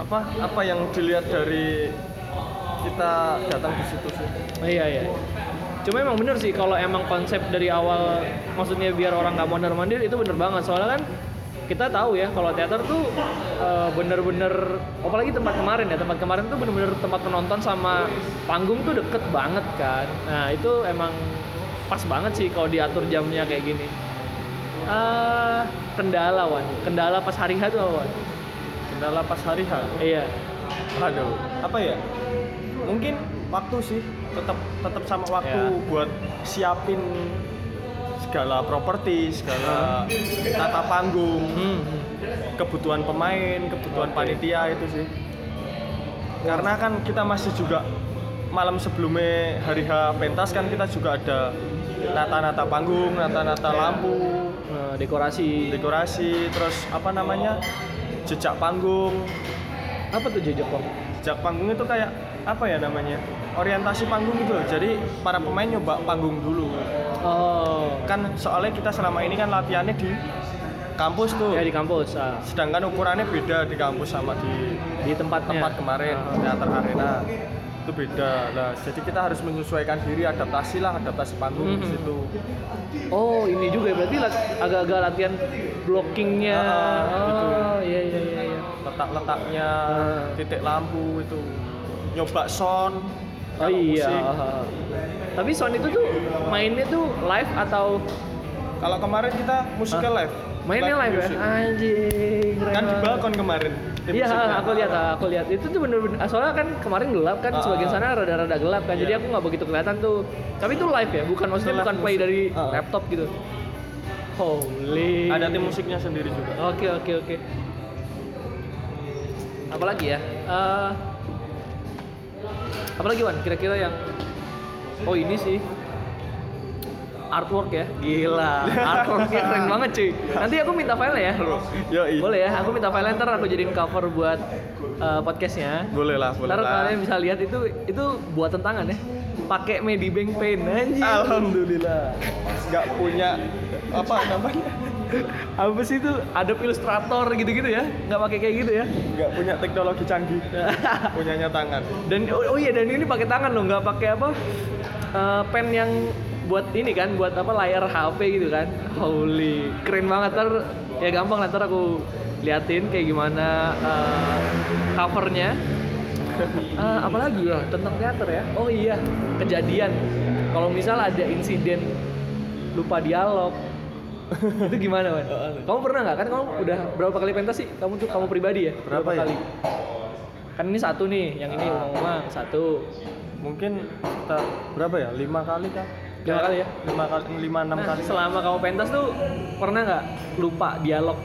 Speaker 2: apa apa yang dilihat dari kita datang ke situ sih.
Speaker 1: Oh, iya iya. Cuma emang bener sih kalau emang konsep dari awal maksudnya biar orang nggak mondar mandir itu bener banget soalnya kan kita tahu ya kalau teater tuh eh, bener-bener apalagi tempat kemarin ya tempat kemarin tuh bener-bener tempat penonton sama panggung tuh deket banget kan. Nah itu emang pas banget sih kalau diatur jamnya kayak gini. Eh kendala wan, kendala pas hari H tuh apa, wan.
Speaker 2: Kendala pas hari H.
Speaker 1: Iya.
Speaker 2: Aduh, apa ya? Mungkin waktu sih, tetap tetap sama waktu
Speaker 1: Ya.
Speaker 2: buat siapin segala properti, segala tata panggung,
Speaker 1: Hmm.
Speaker 2: kebutuhan pemain, kebutuhan panitia itu sih. Karena kan kita masih juga malam sebelumnya hari H pentas kan kita juga ada nata-nata panggung, nata-nata lampu,
Speaker 1: Eh, dekorasi
Speaker 2: dekorasi, terus apa namanya jejak panggung.
Speaker 1: apa tuh jejak Bang?
Speaker 2: Jejak panggung itu kayak apa ya namanya? Orientasi panggung gitu loh. Jadi para pemain nyoba panggung dulu.
Speaker 1: Oh,
Speaker 2: Kan soalnya kita selama ini kan latihannya di kampus tuh.
Speaker 1: ya di kampus. ah.
Speaker 2: Sedangkan ukurannya beda di kampus sama di
Speaker 1: di tempatnya.
Speaker 2: tempat kemarin
Speaker 1: Ah.
Speaker 2: teater arena itu beda lah jadi kita harus menyesuaikan diri adaptasi lah adaptasi panggung di
Speaker 1: Mhm.
Speaker 2: situ
Speaker 1: Oh, ini juga ya, berarti lat- agak-agak latihan blockingnya.
Speaker 2: Ah, ah, gitu.
Speaker 1: oh, iya iya iya. iya.
Speaker 2: letak letaknya
Speaker 1: Ah.
Speaker 2: titik lampu itu nyoba sound
Speaker 1: Oh
Speaker 2: kalau
Speaker 1: iya.
Speaker 2: musik.
Speaker 1: ah, ah. Tapi sound itu tuh mainnya tuh live atau
Speaker 2: kalau kemarin kita musiknya
Speaker 1: Ah.
Speaker 2: live
Speaker 1: mainnya live,
Speaker 2: music.
Speaker 1: ya? Anjing. keren
Speaker 2: kan di
Speaker 1: banget.
Speaker 2: balkon kemarin tim
Speaker 1: Iya,
Speaker 2: musiknya.
Speaker 1: aku lihat, aku lihat. Itu tuh bener-bener soalnya kan kemarin gelap kan,
Speaker 2: Ah.
Speaker 1: sebagian sana rada-rada gelap kan. Jadi
Speaker 2: Iya.
Speaker 1: aku nggak begitu kelihatan tuh. Tapi itu live ya, bukan maksudnya
Speaker 2: Itu live
Speaker 1: bukan play
Speaker 2: musik.
Speaker 1: dari
Speaker 2: Ah.
Speaker 1: laptop gitu. Holy.
Speaker 2: ada tim musiknya sendiri juga
Speaker 1: Oke, oke, oke. Apalagi ya? Eh, apalagi Wan? Kira-kira yang Oh, ini sih artwork ya. Gila, artworknya keren banget cuy. Nanti aku minta file ya.
Speaker 2: Yoi.
Speaker 1: Boleh ya, aku minta file ntar aku jadiin cover buat eh, podcastnya.
Speaker 2: boleh lah boleh
Speaker 1: Ntar
Speaker 2: lah
Speaker 1: kalian bisa lihat itu itu buatan tangan ya. Pakai Medibank Paint anjir.
Speaker 2: alhamdulillah nggak punya apa namanya
Speaker 1: Habis itu Adobe Illustrator gitu-gitu ya. Nggak pakai kayak gitu ya.
Speaker 2: nggak punya teknologi canggih punyanya tangan
Speaker 1: Dan oh, oh iya dan ini pakai tangan loh, nggak pakai apa eh, pen yang buat ini kan, buat apa layar HP gitu kan. Holy, keren banget ter. Ya gampang lah ntar aku liatin kayak gimana eh, covernya. Eh, apalagi ya tentang teater ya. Oh iya kejadian. Kalau misal ada insiden lupa dialog itu gimana
Speaker 2: Oh,
Speaker 1: man? Kamu pernah nggak kan kamu udah berapa kali pentas sih? Kamu tuh kamu pribadi ya?
Speaker 2: Berapa ya? Ah.
Speaker 1: kali? Kan ini satu nih, yang ini ngomong-ngomong satu.
Speaker 2: mungkin sekitar berapa ya lima kali kan
Speaker 1: Lima kali ya?
Speaker 2: lima kali lima enam
Speaker 1: Nah,
Speaker 2: kali
Speaker 1: selama kamu pentas tuh pernah nggak lupa dialog?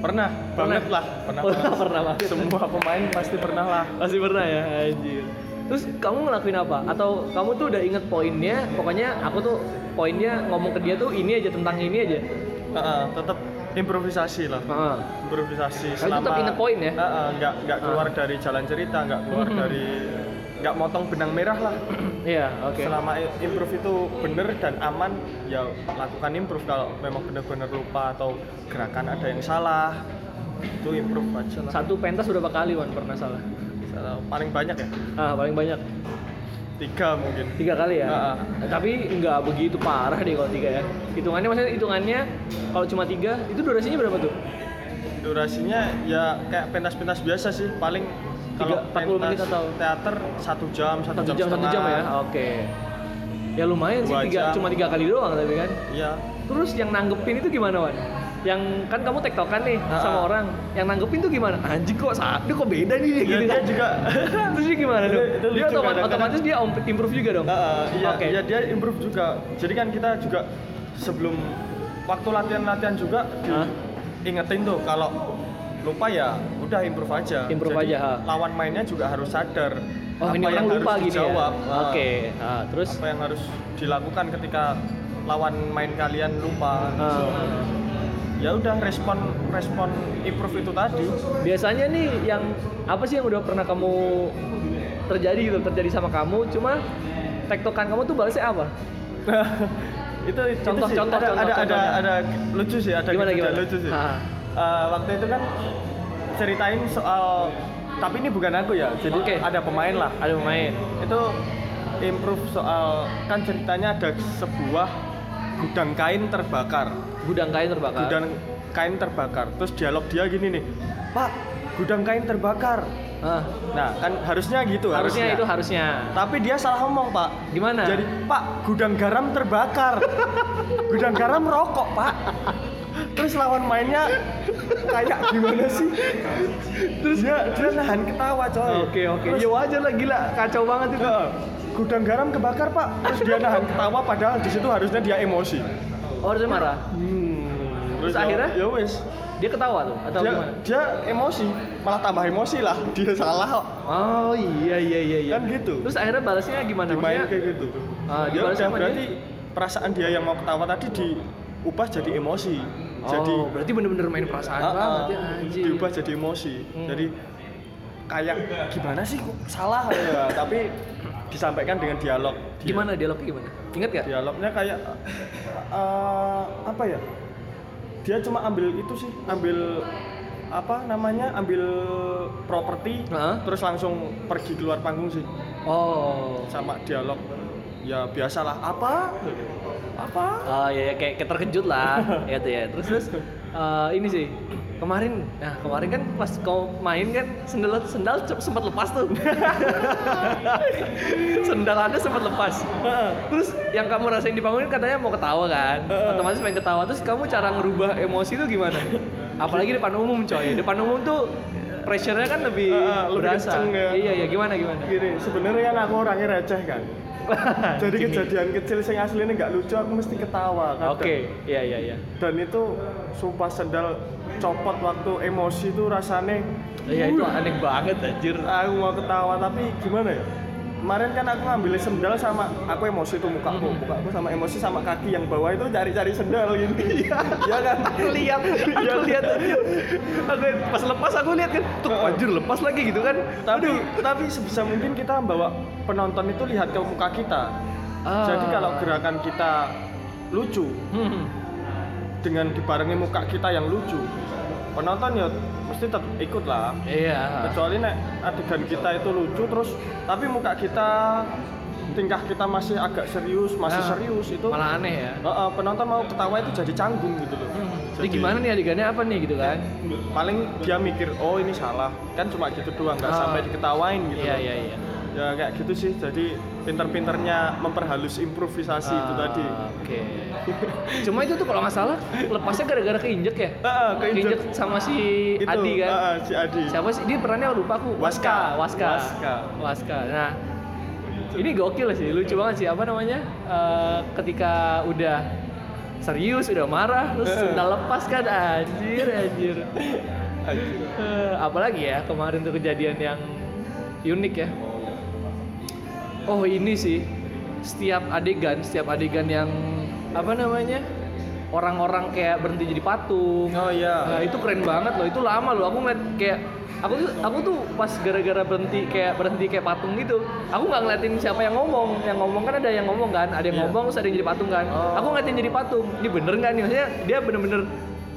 Speaker 2: pernah banget lah pernah,
Speaker 1: Pernah,
Speaker 2: banget.
Speaker 1: pernah banget.
Speaker 2: semua pemain pasti pernah lah
Speaker 1: Pasti pernah ya, anjir. Terus kamu ngelakuin apa? Atau kamu tuh udah inget poinnya, pokoknya aku tuh poinnya ngomong ke dia tuh ini aja tentang ini aja.
Speaker 2: Heeh, Kan tetap improvisasi lah
Speaker 1: Heeh.
Speaker 2: improvisasi
Speaker 1: Tapi tetap inget poin ya?
Speaker 2: Heeh, nggak nggak keluar
Speaker 1: Ah.
Speaker 2: dari jalan cerita nggak keluar
Speaker 1: Mhm.
Speaker 2: dari nggak motong benang merah lah
Speaker 1: Iya, oke.
Speaker 2: selama i- improv itu bener dan aman ya lakukan improv kalau memang bener-bener lupa atau gerakan ada yang salah itu improv aja lah
Speaker 1: Satu pentas berapa kali Wan pernah salah?
Speaker 2: Salah. paling banyak ya
Speaker 1: Ah, paling banyak
Speaker 2: tiga mungkin
Speaker 1: tiga kali ya.
Speaker 2: Ah, ah.
Speaker 1: Tapi nggak begitu parah deh kalau tiga ya. Hitungannya maksudnya hitungannya kalau cuma tiga itu durasinya berapa tuh?
Speaker 2: durasinya ya kayak pentas-pentas biasa sih paling kalau
Speaker 1: Tiga- 40 menit
Speaker 2: pentas
Speaker 1: atau-
Speaker 2: teater satu jam satu,
Speaker 1: satu jam satu jam ya
Speaker 2: setengah.
Speaker 1: oke ya lumayan sih
Speaker 2: Dua
Speaker 1: tiga
Speaker 2: jam.
Speaker 1: cuma tiga kali doang tapi kan
Speaker 2: iya
Speaker 1: terus yang nanggepin itu gimana wan yang kan kamu tektokan nih sama
Speaker 2: Ah, ah. orang.
Speaker 1: orang yang nanggepin tuh gimana anjing kok sakit kok beda nih dia
Speaker 2: Ya,
Speaker 1: gini
Speaker 2: dia
Speaker 1: kan
Speaker 2: juga
Speaker 1: terus dia gimana
Speaker 2: Itu-
Speaker 1: dong
Speaker 2: itu
Speaker 1: dia
Speaker 2: lucu
Speaker 1: otoma-
Speaker 2: kadang-kadang.
Speaker 1: otomatis dia om- improve juga dong
Speaker 2: Ah, ah, iya
Speaker 1: Oke.
Speaker 2: iya, dia improve juga jadi kan kita juga sebelum waktu latihan-latihan juga
Speaker 1: Hah?
Speaker 2: ingetin tuh kalau lupa ya udah improve aja
Speaker 1: Improve
Speaker 2: Jadi,
Speaker 1: aja, ha.
Speaker 2: lawan mainnya juga harus sadar
Speaker 1: oh ini orang lupa
Speaker 2: harus
Speaker 1: gini
Speaker 2: dijawab,
Speaker 1: ya
Speaker 2: ah,
Speaker 1: oke ah, terus
Speaker 2: apa yang harus dilakukan ketika lawan main kalian lupa
Speaker 1: ah.
Speaker 2: ya udah respon respon improve itu tadi
Speaker 1: biasanya nih yang apa sih yang udah pernah kamu terjadi gitu terjadi sama kamu cuma tektokan kamu tuh balasnya apa
Speaker 2: itu itu
Speaker 1: Contoh,
Speaker 2: sih,
Speaker 1: contoh,
Speaker 2: ada,
Speaker 1: contoh,
Speaker 2: ada, ada
Speaker 1: contohnya.
Speaker 2: ada lucu sih ada
Speaker 1: Gimana,
Speaker 2: kejadian
Speaker 1: gimana?
Speaker 2: lucu sih
Speaker 1: Ha.
Speaker 2: Eh, waktu itu kan ceritain soal tapi ini bukan aku ya jadi
Speaker 1: Oke.
Speaker 2: ada pemain lah
Speaker 1: ada pemain
Speaker 2: itu improve soal kan ceritanya ada sebuah gudang kain terbakar
Speaker 1: gudang kain terbakar
Speaker 2: gudang kain terbakar terus dialog dia gini nih pak gudang kain terbakar
Speaker 1: Ah,
Speaker 2: nah kan harusnya gitu
Speaker 1: harusnya itu harusnya
Speaker 2: tapi dia salah ngomong pak
Speaker 1: Gimana?
Speaker 2: jadi pak gudang garam terbakar gudang garam rokok pak terus lawan mainnya kayak gimana sih terus dia, dia nahan ketawa coy
Speaker 1: oke oke
Speaker 2: Terus,
Speaker 1: ya wajar lah gila kacau banget itu
Speaker 2: "Eh, gudang garam kebakar pak terus dia nahan ketawa padahal di situ harusnya dia emosi
Speaker 1: oh harusnya marah Terus
Speaker 2: ya-
Speaker 1: akhirnya?
Speaker 2: ya wes
Speaker 1: dia ketawa tuh atau
Speaker 2: dia,
Speaker 1: gimana
Speaker 2: dia emosi malah tambah emosi lah dia salah kok
Speaker 1: oh iya iya iya iya
Speaker 2: Kan gitu.
Speaker 1: terus akhirnya balasnya gimana
Speaker 2: dimain
Speaker 1: Maksudnya,
Speaker 2: kayak gitu
Speaker 1: Ah,
Speaker 2: dia
Speaker 1: dibalas
Speaker 2: udah
Speaker 1: sama dia?
Speaker 2: berarti perasaan dia yang mau ketawa tadi diubah jadi emosi
Speaker 1: oh,
Speaker 2: jadi
Speaker 1: berarti bener-bener main perasaan
Speaker 2: Ah, ah,
Speaker 1: banget ya anjir
Speaker 2: diubah jadi emosi
Speaker 1: Hmm.
Speaker 2: jadi kayak gimana sih kok salah ya tapi disampaikan dengan dialog Dia-
Speaker 1: gimana dialognya gimana ingat gak
Speaker 2: dialognya kayak eh, apa ya dia cuma ambil itu sih ambil apa namanya ambil properti
Speaker 1: Ah.
Speaker 2: terus langsung pergi keluar panggung sih
Speaker 1: oh
Speaker 2: sama dialog ya biasalah apa apa
Speaker 1: Oh iya, iya, kayak, kayak terkejut lah ya tuh ya. Terus terus eh, ini sih kemarin, nah kemarin kan pas kau main kan sendal sendal cep- sempat lepas tuh. sendal anda sempat lepas. Terus yang kamu rasain dibangunin katanya mau ketawa kan, otomatis pengen ketawa. Terus kamu cara ngerubah emosi tuh gimana? Apalagi depan umum coy, depan umum tuh pressure-nya kan lebih
Speaker 2: Ah, lebih
Speaker 1: berasa.
Speaker 2: kenceng ya.
Speaker 1: Iya iya gimana gimana.
Speaker 2: gini sebenarnya kan aku orangnya receh kan jadi kejadian kecil yang aslinya nggak lucu aku mesti ketawa kadang.
Speaker 1: Oke, iya iya iya.
Speaker 2: dan itu sumpah sendal copot waktu emosi itu rasanya
Speaker 1: Iya
Speaker 2: Uh.
Speaker 1: itu aneh banget anjir.
Speaker 2: aku mau ketawa tapi gimana ya kemarin kan aku ngambil sendal sama aku emosi tuh mukaku mukaku sama emosi sama kaki yang bawah itu cari-cari sendal gini ya kan
Speaker 1: aku lihat
Speaker 2: Iya.
Speaker 1: aku lihat anjir. aku pas lepas aku lihat kan tuh anjir lepas lagi gitu kan
Speaker 2: tapi tapi sebisa mungkin kita bawa penonton itu lihat ke muka kita
Speaker 1: Ah.
Speaker 2: jadi kalau gerakan kita lucu
Speaker 1: Hmm.
Speaker 2: dengan dibarengi muka kita yang lucu penonton ya mesti tetap ikut lah
Speaker 1: iya
Speaker 2: kecuali nek adegan kita itu lucu terus tapi muka kita tingkah kita masih agak serius masih
Speaker 1: Ah,
Speaker 2: serius itu
Speaker 1: malah aneh ya
Speaker 2: Eh, eh, penonton mau ketawa itu jadi canggung gitu loh
Speaker 1: jadi gimana nih adegannya apa nih gitu kan
Speaker 2: paling dia mikir oh ini salah kan cuma gitu doang nggak
Speaker 1: Ah.
Speaker 2: sampai diketawain gitu
Speaker 1: iya
Speaker 2: loh.
Speaker 1: iya iya
Speaker 2: ya kayak gitu sih jadi pinter-pinternya memperhalus improvisasi itu
Speaker 1: Ah,
Speaker 2: tadi
Speaker 1: oke cuma itu tuh kalau nggak salah lepasnya gara-gara keinjek ya
Speaker 2: Ah, ah, keinjek.
Speaker 1: sama si
Speaker 2: itu
Speaker 1: Adi kan
Speaker 2: ah, ah, si Adi
Speaker 1: siapa sih dia perannya lupa aku
Speaker 2: Waska.
Speaker 1: Waska
Speaker 2: Waska.
Speaker 1: Waska nah ini gokil sih lucu banget sih apa namanya eh, ketika udah serius udah marah terus
Speaker 2: Heeh.
Speaker 1: sendal lepas kan anjir anjir
Speaker 2: Anjir.
Speaker 1: Eh, apalagi ya kemarin tuh kejadian yang unik ya oh ini sih setiap adegan setiap adegan yang apa namanya orang-orang kayak berhenti jadi patung Nah,
Speaker 2: oh iya
Speaker 1: itu keren banget loh. Itu lama loh. Aku ngeliat kayak aku tuh aku tuh pas gara-gara berhenti kayak berhenti kayak patung gitu. Aku nggak ngeliatin siapa yang ngomong. Yang ngomong kan ada yang ngomong kan, ada yang
Speaker 2: Iya.
Speaker 1: ngomong terus ada yang jadi patung kan.
Speaker 2: Oh.
Speaker 1: Aku ngeliatin jadi patung. Ini bener nggak nih? Maksudnya dia bener-bener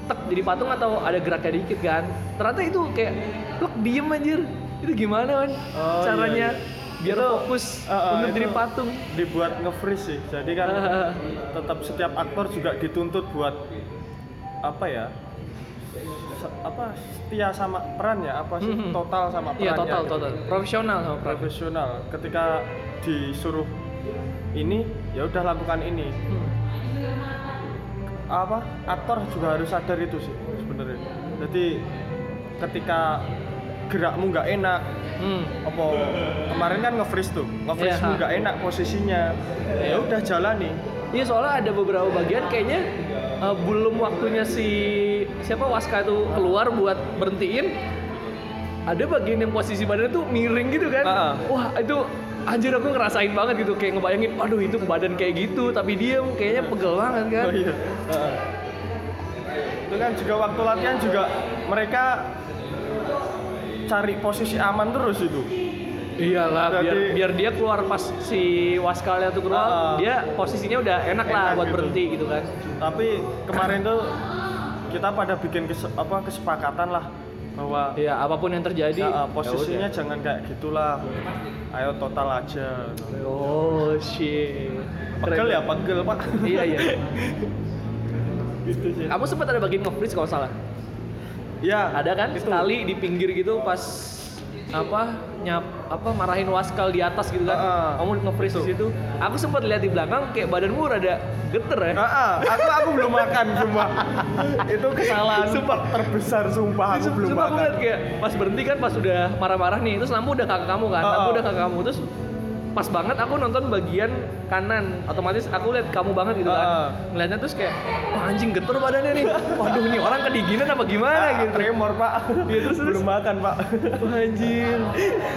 Speaker 1: tek jadi patung atau ada geraknya dikit kan? Ternyata itu kayak plek diem anjir. Itu gimana kan?
Speaker 2: Oh,
Speaker 1: Caranya
Speaker 2: iya, iya.
Speaker 1: biar
Speaker 2: Itu,
Speaker 1: fokus
Speaker 2: uh, uh,
Speaker 1: untuk jadi
Speaker 2: itu-
Speaker 1: patung.
Speaker 2: dibuat nge-freeze sih jadi kan
Speaker 1: Ah.
Speaker 2: tetap setiap aktor juga dituntut buat apa ya se- apa setia sama perannya apa sih
Speaker 1: Mhm.
Speaker 2: total sama perannya
Speaker 1: Iya total
Speaker 2: gitu.
Speaker 1: total. Profesional sama profesional.
Speaker 2: profesional ketika disuruh ini ya udah lakukan ini
Speaker 1: Hmm.
Speaker 2: apa aktor juga harus sadar itu sih sebenarnya jadi ketika gerakmu nggak enak
Speaker 1: Hmm.
Speaker 2: apa kemarin kan nge-freeze tuh nge-freeze
Speaker 1: Iya.
Speaker 2: nggak enak posisinya ya udah jalani
Speaker 1: Iya soalnya ada beberapa bagian kayaknya eh, belum waktunya si siapa Waska itu keluar buat berhentiin. Ada bagian yang posisi badannya tuh miring gitu kan.
Speaker 2: Ah, ah.
Speaker 1: Wah itu anjir aku ngerasain banget gitu kayak ngebayangin aduh itu badan kayak gitu tapi diem kayaknya pegel banget kan.
Speaker 2: oh iya Heeh. itu kan juga waktu latihan juga mereka cari posisi aman terus itu
Speaker 1: Iyalah biar
Speaker 2: Jadi-
Speaker 1: biar dia keluar pas si Waskalnya tuh keluar
Speaker 2: Ah, ah.
Speaker 1: dia posisinya udah enak, lah
Speaker 2: Enak
Speaker 1: buat
Speaker 2: gitu.
Speaker 1: berhenti gitu kan.
Speaker 2: tapi kemarin tuh kita pada bikin kese- apa kesepakatan lah bahwa
Speaker 1: ya apapun yang terjadi
Speaker 2: "Nah, ah,
Speaker 1: ya
Speaker 2: posisinya
Speaker 1: udah.
Speaker 2: jangan kayak gitulah ayo total aja
Speaker 1: oh shit
Speaker 2: pegel ya pegel pak
Speaker 1: iya iya
Speaker 2: gitu sih
Speaker 1: kamu sempat ada bagian nge-freeze kalau salah
Speaker 2: ya
Speaker 1: ada kan sekali di pinggir gitu pas apa nyap apa marahin waskal di atas gitu kan
Speaker 2: Ah, ah.
Speaker 1: kamu nge-freeze di situ aku sempat lihat di belakang kayak badanmu rada geter ya
Speaker 2: Ah, ah, aku aku belum makan sumpah itu kesalahan
Speaker 1: Sumpah.
Speaker 2: terbesar sumpah aku
Speaker 1: Cuma-
Speaker 2: belum
Speaker 1: cuma aku
Speaker 2: makan
Speaker 1: ngeliat kayak pas berhenti kan pas udah marah-marah nih terus lampu udah kakak kamu kan
Speaker 2: Ah,
Speaker 1: lampu
Speaker 2: ah.
Speaker 1: udah kakak kamu terus pas banget aku nonton bagian kanan otomatis aku lihat kamu banget gitu kan
Speaker 2: Ah, ah.
Speaker 1: ngeliatnya terus kayak wah anjing geter badannya nih waduh nih orang kedinginan apa gimana
Speaker 2: Ah,
Speaker 1: gitu
Speaker 2: tremor pak
Speaker 1: Iya, terus, terus.
Speaker 2: belum makan pak
Speaker 1: Wah, anjir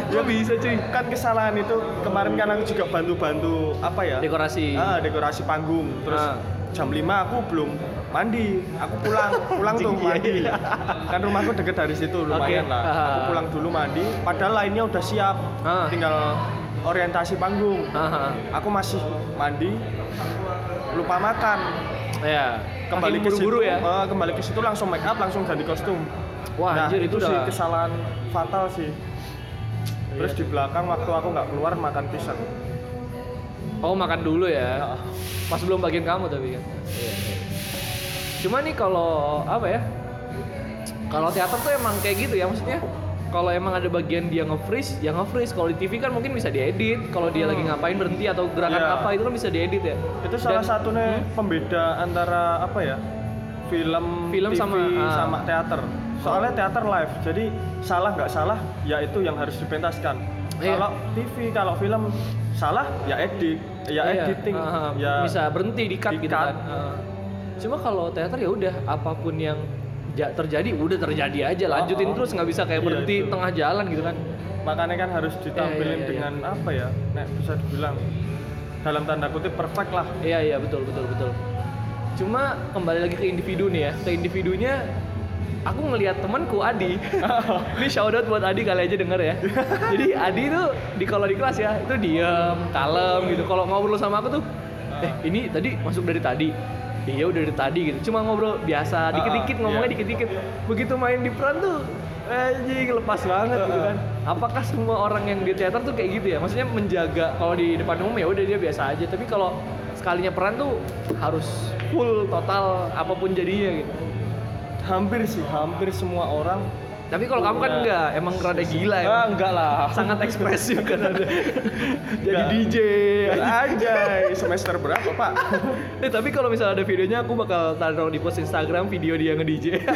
Speaker 1: kok bisa cuy
Speaker 2: kan kesalahan itu kemarin kan aku juga bantu-bantu apa ya
Speaker 1: dekorasi
Speaker 2: Ah, dekorasi panggung. Terus
Speaker 1: Ah.
Speaker 2: jam 5 aku belum mandi. Aku pulang, pulang tuh
Speaker 1: Anjing, iya,
Speaker 2: mandi.
Speaker 1: iya.
Speaker 2: Kan rumahku deket dari situ lumayan
Speaker 1: Oke.
Speaker 2: lah.
Speaker 1: Ah.
Speaker 2: Aku pulang dulu mandi, padahal lainnya udah siap.
Speaker 1: Ah.
Speaker 2: Tinggal orientasi panggung.
Speaker 1: Haha.
Speaker 2: Aku masih mandi lupa makan.
Speaker 1: ya
Speaker 2: Kembali ke
Speaker 1: Makin buru-buru
Speaker 2: situ,
Speaker 1: ya
Speaker 2: eh, kembali ke situ langsung make up, langsung ganti kostum. Nah,
Speaker 1: Wah, anjir, Nah, itu
Speaker 2: sih
Speaker 1: udah- Iya.
Speaker 2: kesalahan fatal sih. Terus di belakang waktu aku nggak keluar makan pisang.
Speaker 1: oh makan dulu ya
Speaker 2: Ah.
Speaker 1: pas belum bagian kamu tapi kan cuma nih kalau apa ya kalau teater tuh emang kayak gitu ya maksudnya kalau emang ada bagian dia nge-freeze ya nge-freeze kalau di TV kan mungkin bisa diedit kalau dia lagi ngapain berhenti atau gerakan
Speaker 2: Iya.
Speaker 1: apa itu kan bisa diedit ya
Speaker 2: itu
Speaker 1: Dan-
Speaker 2: salah
Speaker 1: Hmm?
Speaker 2: satunya pembeda antara apa ya film
Speaker 1: Film
Speaker 2: TV
Speaker 1: sama, ah. Oh.
Speaker 2: sama teater soalnya teater live jadi salah nggak salah ya itu yang harus dipentaskan
Speaker 1: Iya.
Speaker 2: kalau TV kalau film salah ya edit ya
Speaker 1: Iya,
Speaker 2: editing
Speaker 1: ah,
Speaker 2: ya
Speaker 1: bisa berhenti di cut, gitu
Speaker 2: di-cut.
Speaker 1: kan Ah. cuma kalau teater ya udah apapun yang ja- terjadi udah terjadi aja lanjutin
Speaker 2: Ah, ah.
Speaker 1: terus nggak bisa kayak
Speaker 2: Iya,
Speaker 1: berhenti
Speaker 2: itu.
Speaker 1: tengah jalan gitu kan
Speaker 2: makanya kan harus ditampilin
Speaker 1: iya, iya.
Speaker 2: dengan apa ya nek bisa dibilang dalam tanda kutip perfect lah
Speaker 1: Iya iya betul betul betul. Cuma kembali lagi ke individu nih ya, ke individunya aku ngelihat temanku Adi. Ini shout out buat Adi kali aja denger ya. Jadi Adi itu di kalau di kelas ya itu diem, kalem gitu. Kalau ngobrol sama aku tuh, eh ini tadi masuk dari tadi. Iya udah dari tadi gitu. Cuma ngobrol biasa, dikit-dikit
Speaker 2: iya.
Speaker 1: ngomongnya dikit-dikit. Begitu main di peran tuh anjing lepas banget gitu kan. Apakah semua orang yang di teater tuh kayak gitu ya? Maksudnya menjaga kalau di depan umum ya udah dia biasa aja, tapi kalau sekalinya peran tuh harus full total apapun jadinya gitu.
Speaker 2: hampir sih hampir semua orang
Speaker 1: Tapi kalau kamu kan
Speaker 2: Iya.
Speaker 1: enggak, emang rada gila ya.
Speaker 2: ah, enggak lah
Speaker 1: Sangat ekspresif kan ada. Jadi
Speaker 2: Enggak.
Speaker 1: DJ.
Speaker 2: aja semester berapa pak
Speaker 1: Eh tapi kalau misalnya ada videonya aku bakal taruh di post Instagram video dia nge-DJ.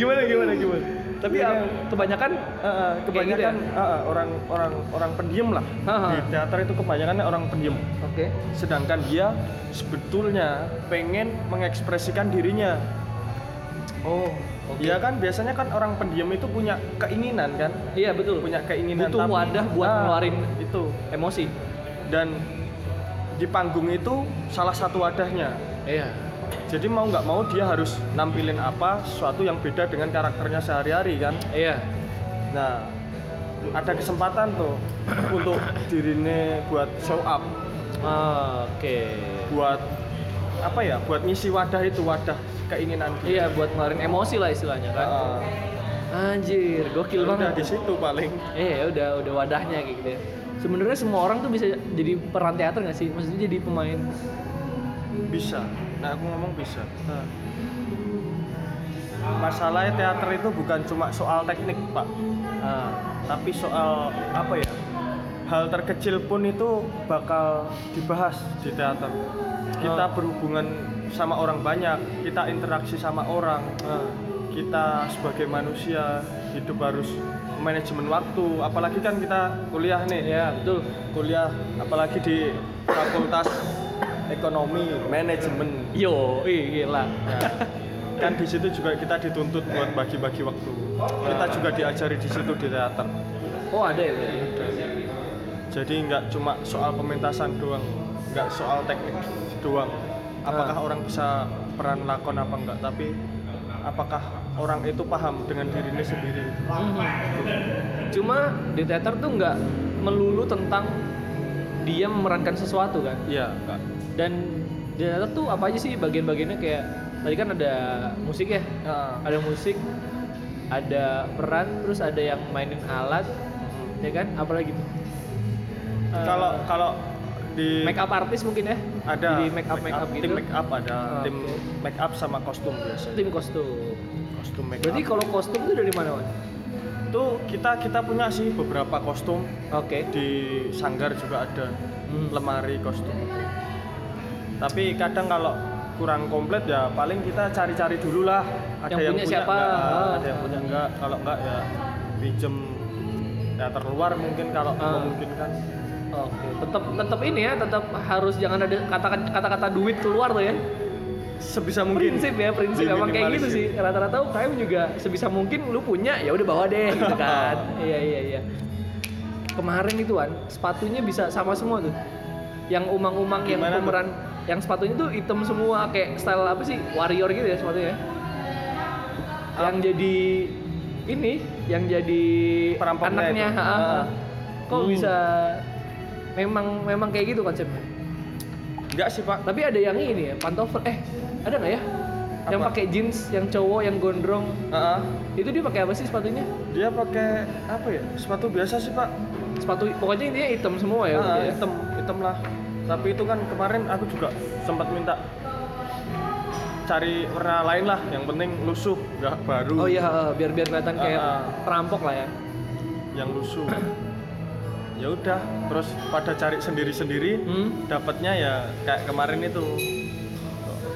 Speaker 2: gimana gimana gimana
Speaker 1: tapi
Speaker 2: Iya,
Speaker 1: ya,
Speaker 2: kan?
Speaker 1: kebanyakan
Speaker 2: Eh, eh,
Speaker 1: Kayak gitu ya?
Speaker 2: kebanyakan eh, eh, orang orang orang pendiam lah
Speaker 1: Ha, ha.
Speaker 2: di teater itu kebanyakan orang pendiam
Speaker 1: Oke.
Speaker 2: sedangkan dia sebetulnya pengen mengekspresikan dirinya
Speaker 1: Oh,
Speaker 2: Iya kan biasanya kan orang pendiam itu punya keinginan kan
Speaker 1: Iya betul.
Speaker 2: punya keinginan
Speaker 1: Butuh
Speaker 2: tapi-
Speaker 1: wadah buat
Speaker 2: Ah,
Speaker 1: ngeluarin
Speaker 2: itu
Speaker 1: emosi.
Speaker 2: dan di panggung itu salah satu wadahnya
Speaker 1: Iya.
Speaker 2: jadi mau nggak mau dia harus nampilin apa sesuatu yang beda dengan karakternya sehari-hari kan
Speaker 1: Iya.
Speaker 2: Nah, ada kesempatan tuh untuk dirine buat show up,
Speaker 1: Oke.
Speaker 2: buat apa ya? Buat ngisi wadah itu, wadah keinginan dia.
Speaker 1: Iya buat ngeluarin emosi lah istilahnya kan.
Speaker 2: Heeh.
Speaker 1: Anjir, gokil
Speaker 2: udah
Speaker 1: banget.
Speaker 2: di situ paling.
Speaker 1: Eh, ya udah udah wadahnya kayak gitu ya. Sebenarnya semua orang tuh bisa jadi peran teater nggak sih? Maksudnya jadi pemain.
Speaker 2: Bisa. Nah, aku ngomong bisa. Masalahnya teater itu bukan cuma soal teknik, Pak,
Speaker 1: Ah,
Speaker 2: tapi soal apa ya? Hal terkecil pun itu bakal dibahas di teater. Kita
Speaker 1: Ah.
Speaker 2: berhubungan sama orang banyak, kita interaksi sama orang.
Speaker 1: ah.
Speaker 2: kita sebagai manusia hidup harus manajemen waktu apalagi kan kita kuliah nih
Speaker 1: Iya betul.
Speaker 2: kuliah apalagi di fakultas ekonomi manajemen
Speaker 1: Yo, ih gila.
Speaker 2: Ya. kan di situ juga kita dituntut buat bagi-bagi waktu
Speaker 1: Ah.
Speaker 2: kita juga diajari di situ di teater
Speaker 1: Oh ada ya. berarti?
Speaker 2: jadi nggak cuma soal pementasan doang nggak soal teknik doang apakah
Speaker 1: Ah.
Speaker 2: orang bisa peran lakon apa enggak tapi apakah orang itu paham dengan dirinya sendiri
Speaker 1: Hmm. Cuma di teater tuh nggak melulu tentang dia memerankan sesuatu kan.
Speaker 2: iya enggak
Speaker 1: Dan di teater tuh apa aja sih bagian-bagiannya kayak tadi kan ada musik ya
Speaker 2: Nah,
Speaker 1: ada musik ada peran terus ada yang mainin alat ya kan apalagi tuh Eh,
Speaker 2: kalau kalau di
Speaker 1: make up artis mungkin ya
Speaker 2: ada
Speaker 1: jadi make up make up gitu
Speaker 2: tim make up ada
Speaker 1: Ah,
Speaker 2: tim
Speaker 1: oke.
Speaker 2: make up sama kostum biasanya
Speaker 1: tim kostum
Speaker 2: kostum make
Speaker 1: berarti
Speaker 2: up
Speaker 1: kalau kostum itu dari mana Wan?
Speaker 2: itu kita kita punya sih beberapa kostum
Speaker 1: oke
Speaker 2: di sanggar juga ada
Speaker 1: Hmm.
Speaker 2: lemari kostum tapi kadang kalau kurang komplit ya paling kita cari-cari dulu lah ada
Speaker 1: Yang
Speaker 2: yang,
Speaker 1: punya siapa?
Speaker 2: enggak,
Speaker 1: Ah.
Speaker 2: ada yang punya enggak kalau enggak ya pinjem teater luar mungkin kalau
Speaker 1: Ah.
Speaker 2: memungkinkan
Speaker 1: oke tetap tetap ini ya tetap harus jangan ada kata kata kata duit keluar tuh ya
Speaker 2: sebisa mungkin
Speaker 1: prinsip ya prinsip emang kayak gitu sih
Speaker 2: Diminimalisir.
Speaker 1: rata-rata UKM juga sebisa mungkin lu punya ya udah bawa deh gitu kan iya iya iya kemarin itu kan sepatunya bisa sama semua tuh yang umang-umang yang
Speaker 2: Gimana tuh?
Speaker 1: pemeran yang sepatunya tuh hitam semua kayak style apa sih warrior gitu ya sepatunya
Speaker 2: Ah.
Speaker 1: yang jadi ini yang jadi
Speaker 2: Perampoknya
Speaker 1: anaknya
Speaker 2: itu.
Speaker 1: ha-ha.
Speaker 2: Ah.
Speaker 1: kok
Speaker 2: Hmm.
Speaker 1: bisa memang memang kayak gitu konsepnya
Speaker 2: enggak sih pak
Speaker 1: tapi ada yang ini ya, pantofel. Eh, ada nggak ya? Yang
Speaker 2: Apa?
Speaker 1: pakai jeans, yang cowok, yang gondrong.
Speaker 2: Ah, ah.
Speaker 1: Itu dia pakai apa sih sepatunya?
Speaker 2: dia pakai apa ya sepatu biasa sih pak
Speaker 1: Sepatu pokoknya intinya hitam semua ya.
Speaker 2: Ah,
Speaker 1: berarti ya?
Speaker 2: hitam hitam lah tapi itu kan kemarin aku juga sempat minta cari warna lain lah yang penting lusuh nggak baru
Speaker 1: Oh iya, eh, biar biar kelihatan kayak
Speaker 2: Ah, ah.
Speaker 1: perampok lah ya.
Speaker 2: yang lusuh ya udah terus pada cari sendiri sendiri
Speaker 1: Hmm.
Speaker 2: dapatnya ya kayak kemarin itu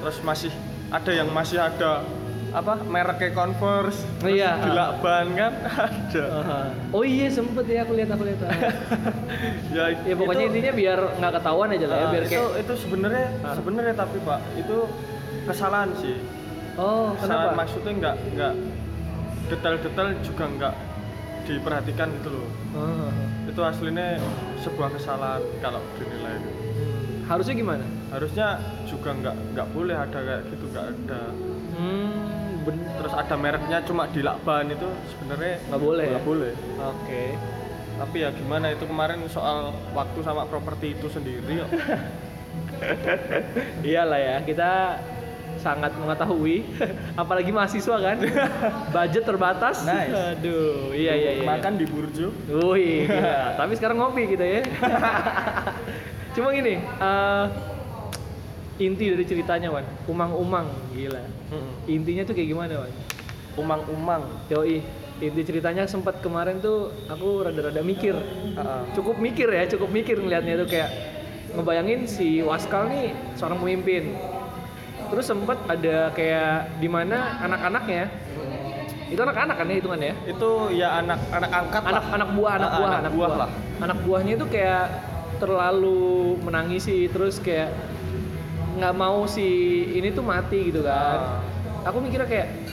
Speaker 2: terus masih ada yang masih ada apa mereknya converse terus
Speaker 1: Iya.
Speaker 2: dilakban kan ada
Speaker 1: Ah. Oh iya sempet ya aku lihat aku lihat. ah.
Speaker 2: ya,
Speaker 1: ya pokoknya
Speaker 2: itu-
Speaker 1: intinya biar nggak ketahuan aja lah ya,
Speaker 2: Ah,
Speaker 1: biar
Speaker 2: itu
Speaker 1: kayak
Speaker 2: itu sebenarnya
Speaker 1: Ah.
Speaker 2: sebenarnya tapi pak itu kesalahan sih
Speaker 1: oh
Speaker 2: kesalahan
Speaker 1: kenapa?
Speaker 2: maksudnya nggak nggak detail-detail juga nggak diperhatikan gitu loh
Speaker 1: Ah.
Speaker 2: itu aslinya sebuah kesalahan kalau dinilai
Speaker 1: Hmm. Harusnya gimana?
Speaker 2: harusnya juga nggak nggak boleh ada kayak gitu nggak ada
Speaker 1: Hmm, ben-
Speaker 2: terus ada mereknya cuma dilakban itu sebenarnya
Speaker 1: nggak boleh. ya?
Speaker 2: nggak boleh
Speaker 1: Oke.
Speaker 2: tapi ya gimana itu kemarin soal waktu sama properti itu sendiri ya. kok.
Speaker 1: Iyalah ya, kita sangat mengetahui, apalagi mahasiswa kan, budget terbatas.
Speaker 2: Nice.
Speaker 1: Aduh, iya iya iya.
Speaker 2: makan di Burjo
Speaker 1: Wih, gila. tapi sekarang ngopi kita ya. Cuma gini, eh, inti dari ceritanya Wan, umang-umang, gila. Intinya tuh kayak gimana Wan?
Speaker 2: umang-umang
Speaker 1: Yoi, inti ceritanya sempat kemarin tuh aku rada-rada mikir
Speaker 2: Ah, ah.
Speaker 1: cukup mikir ya cukup mikir ngelihatnya itu kayak ngebayangin si Waskal nih seorang pemimpin terus sempet ada kayak di mana anak-anaknya itu anak-anak kan ya hitungannya ya?
Speaker 2: itu ya anak anak angkat lah.
Speaker 1: anak anak buah anak
Speaker 2: Ah,
Speaker 1: buah
Speaker 2: anak buah lah.
Speaker 1: anak buahnya itu kayak terlalu menangisi terus kayak nggak mau si ini tuh mati gitu kan
Speaker 2: Ah.
Speaker 1: aku mikirnya kayak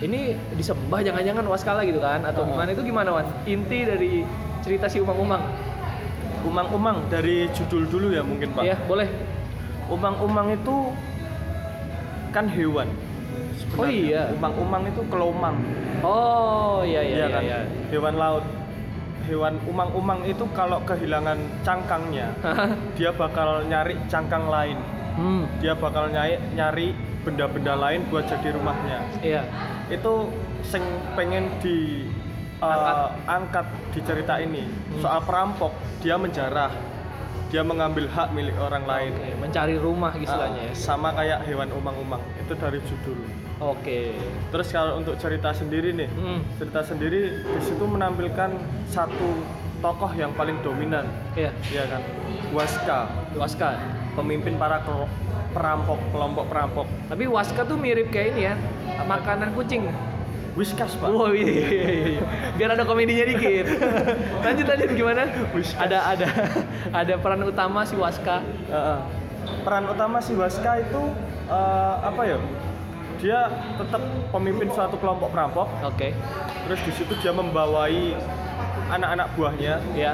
Speaker 1: ini disembah jangan-jangan waskala gitu kan atau
Speaker 2: Ah.
Speaker 1: gimana itu gimana wan inti dari cerita si umang-umang
Speaker 2: umang-umang dari judul dulu ya mungkin pak
Speaker 1: ya boleh
Speaker 2: umang-umang itu kan hewan
Speaker 1: Oh iya.
Speaker 2: umang-umang itu kelomang
Speaker 1: Oh iya iya
Speaker 2: Iya
Speaker 1: iya.
Speaker 2: kan
Speaker 1: iya.
Speaker 2: hewan laut hewan umang-umang itu kalau kehilangan cangkangnya dia bakal nyari cangkang lain
Speaker 1: hmm.
Speaker 2: dia bakal nyari nyari benda-benda lain buat jadi rumahnya
Speaker 1: Iya.
Speaker 2: itu sing pengen di eh,
Speaker 1: Angkat.
Speaker 2: angkat di cerita ini
Speaker 1: Hmm.
Speaker 2: soal perampok dia menjarah dia mengambil hak milik orang lain
Speaker 1: Oke, mencari rumah istilahnya. ya.
Speaker 2: Ah, sama kayak hewan umang-umang itu dari judul
Speaker 1: Oke.
Speaker 2: terus kalau untuk cerita sendiri nih
Speaker 1: Hmm.
Speaker 2: cerita sendiri di situ menampilkan satu tokoh yang paling dominan
Speaker 1: Iya.
Speaker 2: ya kan Waska
Speaker 1: Waska.
Speaker 2: pemimpin para kelo- perampok kelompok perampok
Speaker 1: Tapi Waska tuh mirip kayak ini ya. Makanan kucing.
Speaker 2: Whiskas pak
Speaker 1: Wow, iya, iya, iya, iya. Biar ada komedinya dikit. lanjut lanjut gimana?
Speaker 2: Whiskas.
Speaker 1: Ada ada ada peran utama si Waska.
Speaker 2: Heeh. peran utama si Waska itu eh, apa ya dia tetap pemimpin suatu kelompok perampok
Speaker 1: Oke.
Speaker 2: terus di situ dia membawai anak-anak buahnya
Speaker 1: Iya.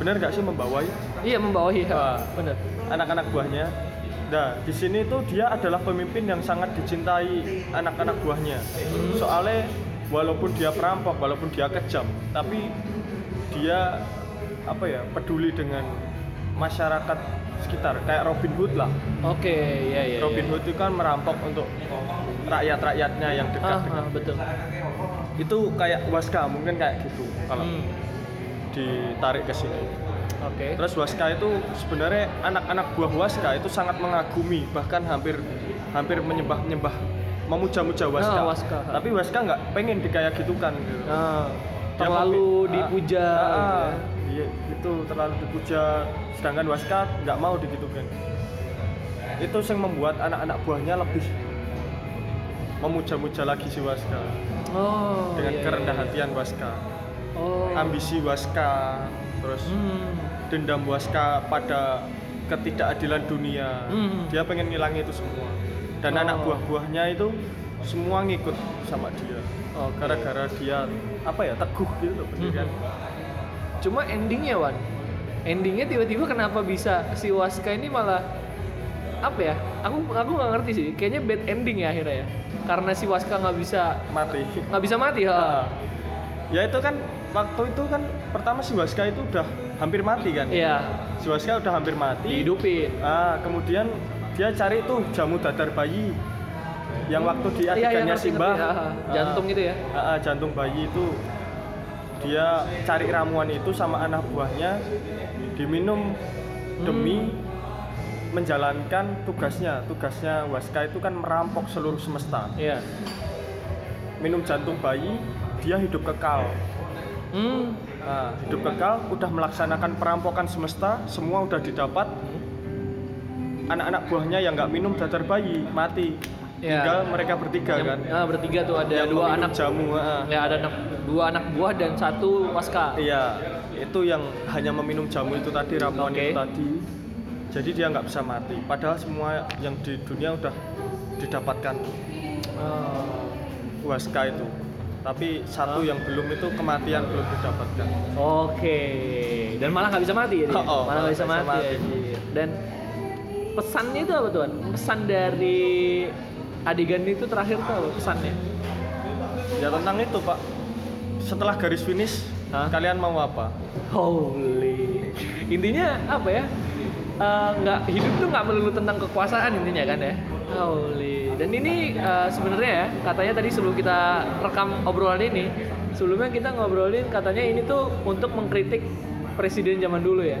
Speaker 2: bener nggak sih membawai
Speaker 1: Iya membawahi.
Speaker 2: Ah.
Speaker 1: Bener.
Speaker 2: anak-anak buahnya. Nah, di sini tuh dia adalah pemimpin yang sangat dicintai anak-anak buahnya. Soalnya walaupun dia perampok, walaupun dia kejam, tapi dia apa ya peduli dengan masyarakat sekitar kayak Robin Hood lah.
Speaker 1: Oke, ya ya.
Speaker 2: Robin Hood itu kan merampok untuk rakyat-rakyatnya yang
Speaker 1: Ah, ah,
Speaker 2: dekat-dekat.
Speaker 1: betul.
Speaker 2: Itu kayak Waska mungkin kayak gitu kalau
Speaker 1: Hmm,
Speaker 2: ditarik ke sini.
Speaker 1: Oke.
Speaker 2: Terus Waska itu sebenarnya anak-anak buah Waska itu sangat mengagumi bahkan hampir hampir menyembah-nyembah memuja-muja Waska.
Speaker 1: Ah, Waska.
Speaker 2: Tapi Waska nggak pengen dikaya gitu kan. Gitu.
Speaker 1: Nah,
Speaker 2: Dia
Speaker 1: terlalu
Speaker 2: mau-
Speaker 1: dipuja.
Speaker 2: Ah, ah,
Speaker 1: gitu ya.
Speaker 2: Iya, itu terlalu dipuja. Sedangkan Waska nggak mau digitukan. Itu yang membuat anak-anak buahnya lebih memuja-muja lagi si Waska
Speaker 1: Oh.
Speaker 2: dengan
Speaker 1: iya, iya,
Speaker 2: kerendah
Speaker 1: iya.
Speaker 2: hatian Waska,
Speaker 1: Oh.
Speaker 2: ambisi Waska, terus
Speaker 1: Hmm.
Speaker 2: dendam Waska pada ketidakadilan dunia.
Speaker 1: Hmm.
Speaker 2: Dia pengen ngilangi itu semua. Dan
Speaker 1: Oh.
Speaker 2: anak buah-buahnya itu semua ngikut sama dia.
Speaker 1: Oke.
Speaker 2: Gara-gara dia apa ya teguh gitu loh pendirian.
Speaker 1: Hmm. Cuma endingnya Wan. Endingnya tiba-tiba kenapa bisa si Waska ini malah apa ya? Aku aku nggak ngerti sih. Kayaknya bad ending ya akhirnya ya. Karena si Waska nggak bisa
Speaker 2: mati.
Speaker 1: nggak bisa mati ha.
Speaker 2: Ah. Ya itu kan waktu itu kan pertama si Waska itu udah hampir mati kan.
Speaker 1: Iya.
Speaker 2: Si Waska udah hampir mati.
Speaker 1: Dihidupin.
Speaker 2: Ah, kemudian dia cari tuh jamu dadar bayi yang waktu di
Speaker 1: Iya, iya,
Speaker 2: adegannya
Speaker 1: ngerti,
Speaker 2: Simbah.
Speaker 1: ngerti. Ah, jantung gitu ya?
Speaker 2: Ah, ah, jantung bayi itu dia cari ramuan itu sama anak buahnya diminum demi
Speaker 1: Hmm.
Speaker 2: menjalankan tugasnya. Tugasnya Waska itu kan merampok seluruh semesta.
Speaker 1: Iya.
Speaker 2: Minum jantung bayi, dia hidup kekal.
Speaker 1: Hmm.
Speaker 2: Nah, hidup kekal udah melaksanakan perampokan semesta, semua udah didapat. Anak-anak buahnya yang nggak minum dadar bayi mati.
Speaker 1: Ya.
Speaker 2: Tinggal mereka bertiga
Speaker 1: Yang-
Speaker 2: kan.
Speaker 1: ah, bertiga tuh ada
Speaker 2: Yang
Speaker 1: dua
Speaker 2: meminum
Speaker 1: anak.
Speaker 2: jamu. ah.
Speaker 1: Ya ada anak dua anak buah dan satu Waska.
Speaker 2: Iya, itu yang hanya meminum jamu itu tadi ramuan
Speaker 1: Oke.
Speaker 2: itu tadi. Jadi dia nggak bisa mati. Padahal semua yang di dunia udah didapatkan
Speaker 1: Ah.
Speaker 2: waska itu. Tapi satu yang belum itu kematian belum didapatkan.
Speaker 1: Oke, dan malah nggak bisa mati ya dia?
Speaker 2: Oh, oh,
Speaker 1: malah nggak bisa mati. ya dia. Dan pesannya itu apa tuan? Pesan dari adegan itu terakhir tuh apa pesannya?
Speaker 2: Ya tentang itu pak. Setelah garis finish,
Speaker 1: Hah?
Speaker 2: kalian mau apa?
Speaker 1: Holy. Intinya apa ya? Eh, Nggak hidup tuh nggak melulu tentang kekuasaan intinya kan ya? Holy. Dan ini eh, sebenarnya ya, katanya tadi sebelum kita rekam obrolan ini, sebelumnya kita ngobrolin katanya ini tuh untuk mengkritik presiden zaman dulu ya.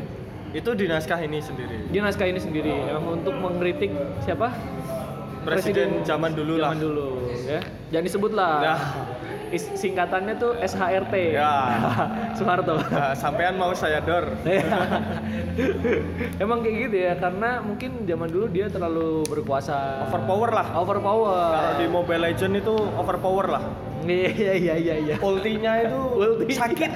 Speaker 2: Itu di naskah ini sendiri.
Speaker 1: dia naskah ini sendiri emang untuk mengkritik siapa
Speaker 2: Presiden zaman dulu lah.
Speaker 1: zaman dulu ya jangan disebut lah
Speaker 2: Ya.
Speaker 1: Is- singkatannya tuh SHRT
Speaker 2: Ya.
Speaker 1: Soeharto
Speaker 2: Nah, sampean mau saya dor.
Speaker 1: Ya. emang kayak gitu ya karena mungkin zaman dulu dia terlalu berkuasa
Speaker 2: Overpower lah. Kalau di
Speaker 1: overpower
Speaker 2: Mobile Legend itu overpower lah.
Speaker 1: iya iya iya iya iya
Speaker 2: Ultinya itu
Speaker 1: Ulti.
Speaker 2: sakit.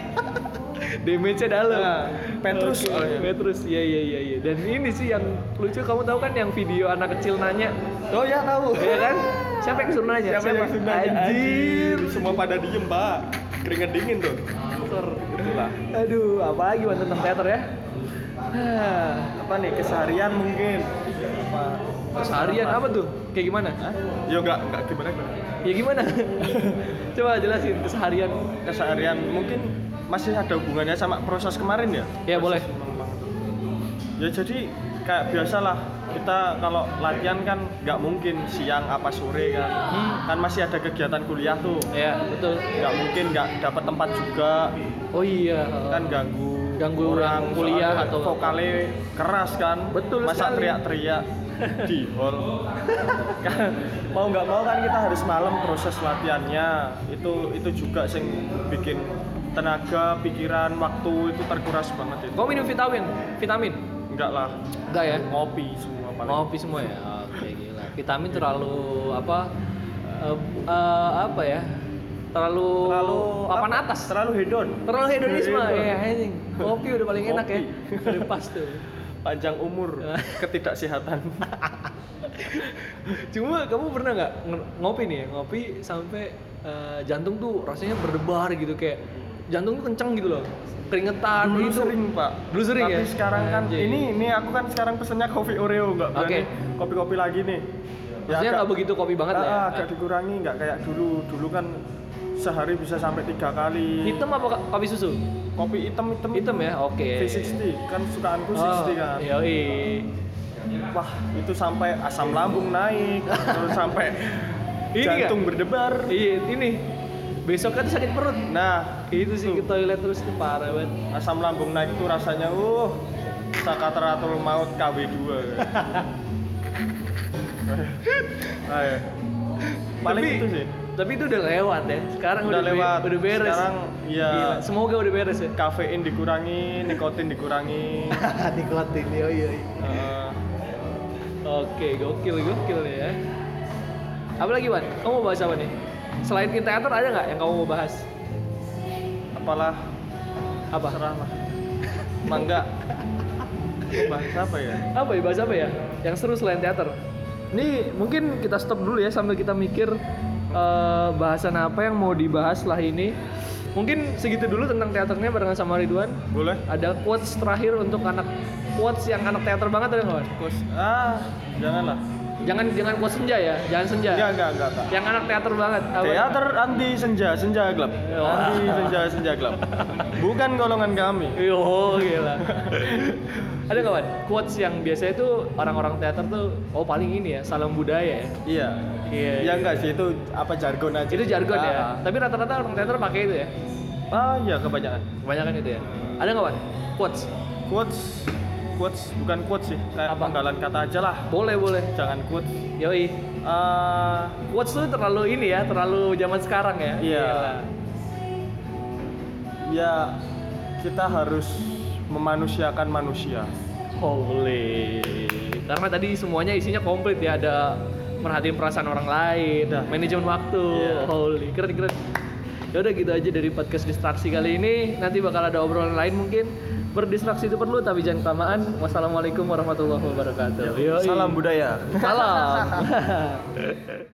Speaker 1: damage-nya dalam
Speaker 2: Nah, Petrus.
Speaker 1: Oke,
Speaker 2: Oh, iya.
Speaker 1: Petrus iya iya iya iya dan ini sih yang lucu kamu tahu kan yang video anak kecil nanya
Speaker 2: Oh ya tahu.
Speaker 1: Iya kan? Siapa yang suruh nanya?
Speaker 2: Siapa yang sudah
Speaker 1: Anjir.
Speaker 2: anjir? Semua pada diem, Mbak. Keringet dingin tuh.
Speaker 1: Aktor.
Speaker 2: Itulah.
Speaker 1: Aduh, apa lagi Wan, tentang teater ya? Hah,
Speaker 2: Apa nih keseharian mungkin? Apa?
Speaker 1: Seharian apa tuh? Kayak gimana?
Speaker 2: Ya enggak, enggak gimana gimana.
Speaker 1: Ya gimana? Coba jelasin keseharian.
Speaker 2: Keseharian mungkin masih ada hubungannya sama proses kemarin ya?
Speaker 1: Ya boleh.
Speaker 2: Ya jadi kayak biasalah kita kalau latihan kan nggak mungkin siang apa sore kan.
Speaker 1: Hmm.
Speaker 2: Kan masih ada kegiatan kuliah tuh.
Speaker 1: Ya, betul.
Speaker 2: Nggak mungkin nggak dapat tempat juga
Speaker 1: Oh iya.
Speaker 2: kan ganggu
Speaker 1: Ganggu yang
Speaker 2: soalnya
Speaker 1: kuliah atau-
Speaker 2: vokalnya keras kan
Speaker 1: Betul
Speaker 2: masa
Speaker 1: sekali.
Speaker 2: teriak-teriak di hall Kan, mau nggak mau kan kita harus malam proses latihannya itu itu juga sing bikin tenaga pikiran waktu itu terkuras banget itu
Speaker 1: Kau minum vitamin? Vitamin?
Speaker 2: enggak lah
Speaker 1: Enggak ya?
Speaker 2: ngopi semua paling
Speaker 1: Ngopi semua ya. Oke, gila. Vitamin terlalu apa? eh, eh, apa ya? Terlalu, papan
Speaker 2: apa?
Speaker 1: atas.
Speaker 2: terlalu hedon
Speaker 1: Terlalu hedonisme
Speaker 2: Hedon.
Speaker 1: ya anjing. Kopi udah paling enak ya.
Speaker 2: Kopi.
Speaker 1: Udah pas tuh.
Speaker 2: panjang umur ketidaksehatan
Speaker 1: Cuma kamu pernah nggak nge- ngopi nih ya? Ngopi sampai eh, jantung tuh rasanya berdebar gitu kayak jantung tuh kenceng gitu loh. Keringetan
Speaker 2: dulu
Speaker 1: gitu.
Speaker 2: sering Ya, pak
Speaker 1: Dulu sering
Speaker 2: tapi
Speaker 1: ya?
Speaker 2: sekarang kan
Speaker 1: Anjing.
Speaker 2: ini ini aku kan sekarang pesennya kopi oreo nggak berani
Speaker 1: Oke.
Speaker 2: kopi-kopi lagi nih
Speaker 1: Rasanya nggak begitu kopi banget lah ya.
Speaker 2: ah, agak dikurangi nggak kayak dulu dulu kan sehari bisa sampai tiga kali
Speaker 1: Hitam apa ka- kopi susu?
Speaker 2: kopi hitam hitam
Speaker 1: Hitam ya, oke.
Speaker 2: V60 kan sukaanku
Speaker 1: Oh,
Speaker 2: 60 kan
Speaker 1: yoi.
Speaker 2: wah itu sampai asam lambung naik terus sampai
Speaker 1: Ini
Speaker 2: jantung berdebar
Speaker 1: Iya, ini. Besok kan sakit perut.
Speaker 2: nah
Speaker 1: Itu sih
Speaker 2: Tuh.
Speaker 1: ke toilet terus itu parah banget.
Speaker 2: asam lambung naik itu rasanya uh sakaratul maut KW2 Nah, ya. paling
Speaker 1: Tapi-
Speaker 2: itu sih
Speaker 1: Tapi itu udah lewat ya. Sekarang udah,
Speaker 2: udah
Speaker 1: be-
Speaker 2: lewat
Speaker 1: udah beres.
Speaker 2: sekarang ya
Speaker 1: Gila, Semoga udah beres ya.
Speaker 2: kafein dikurangi nikotin dikurangi
Speaker 1: Nikmatin, yoi yoi.
Speaker 2: Eh,
Speaker 1: Oke, gokil gokil ya. Apa lagi, Wan? Kamu mau bahas apa nih? Selain in theater ada nggak yang kamu mau bahas?
Speaker 2: apalah
Speaker 1: Apa?
Speaker 2: serah lah mangga bahasa apa ya
Speaker 1: Apa ya bahas apa ya? Yang seru selain teater. Ini mungkin kita stop dulu ya sambil kita mikir eh, bahasan apa yang mau dibahas setelah ini. Mungkin segitu dulu tentang teaternya barengan sama Ridwan.
Speaker 2: boleh
Speaker 1: Ada quotes terakhir untuk anak quotes yang anak teater banget ada nggak? Wan?
Speaker 2: Kus, ah janganlah
Speaker 1: Jangan jangan quotes senja ya, jangan senja.
Speaker 2: enggak enggak enggak enggak
Speaker 1: Yang anak teater banget. Apa? Iya.
Speaker 2: teater anti senja senja gelap
Speaker 1: Wah.
Speaker 2: anti senja senja gelap bukan golongan kami
Speaker 1: Yo, gila. Ada nggak, Wan? Quotes yang biasanya itu orang-orang teater tuh, oh paling ini ya, salam budaya ya.
Speaker 2: iya
Speaker 1: Iya.
Speaker 2: ya enggak sih itu apa jargon aja
Speaker 1: Itu jargon ya.
Speaker 2: Ah.
Speaker 1: Tapi rata-rata orang teater pakai itu ya.
Speaker 2: ah iya kebanyakan
Speaker 1: Kebanyakan itu ya. Ada nggak, Wan? Quotes?
Speaker 2: quotes quotes bukan quotes sih kayak
Speaker 1: Apa?
Speaker 2: penggalan kata aja lah
Speaker 1: Boleh, boleh.
Speaker 2: jangan quotes
Speaker 1: Yoi.
Speaker 2: Ah,
Speaker 1: Quotes tuh terlalu ini ya, terlalu zaman sekarang ya.
Speaker 2: Iya.
Speaker 1: Gila.
Speaker 2: ya kita harus memanusiakan manusia
Speaker 1: Holy. Karena tadi semuanya isinya komplit ya, ada merhatiin perasaan orang lain,
Speaker 2: Dah.
Speaker 1: manajemen waktu.
Speaker 2: Iya.
Speaker 1: Holy, keren keren. Ya udah gitu aja dari podcast distraksi kali ini. Nanti bakal ada obrolan lain mungkin. Berdistraksi itu perlu tapi jangan kelamaan. Wassalamualaikum warahmatullahi wabarakatuh. Yoi.
Speaker 2: salam budaya
Speaker 1: Salam.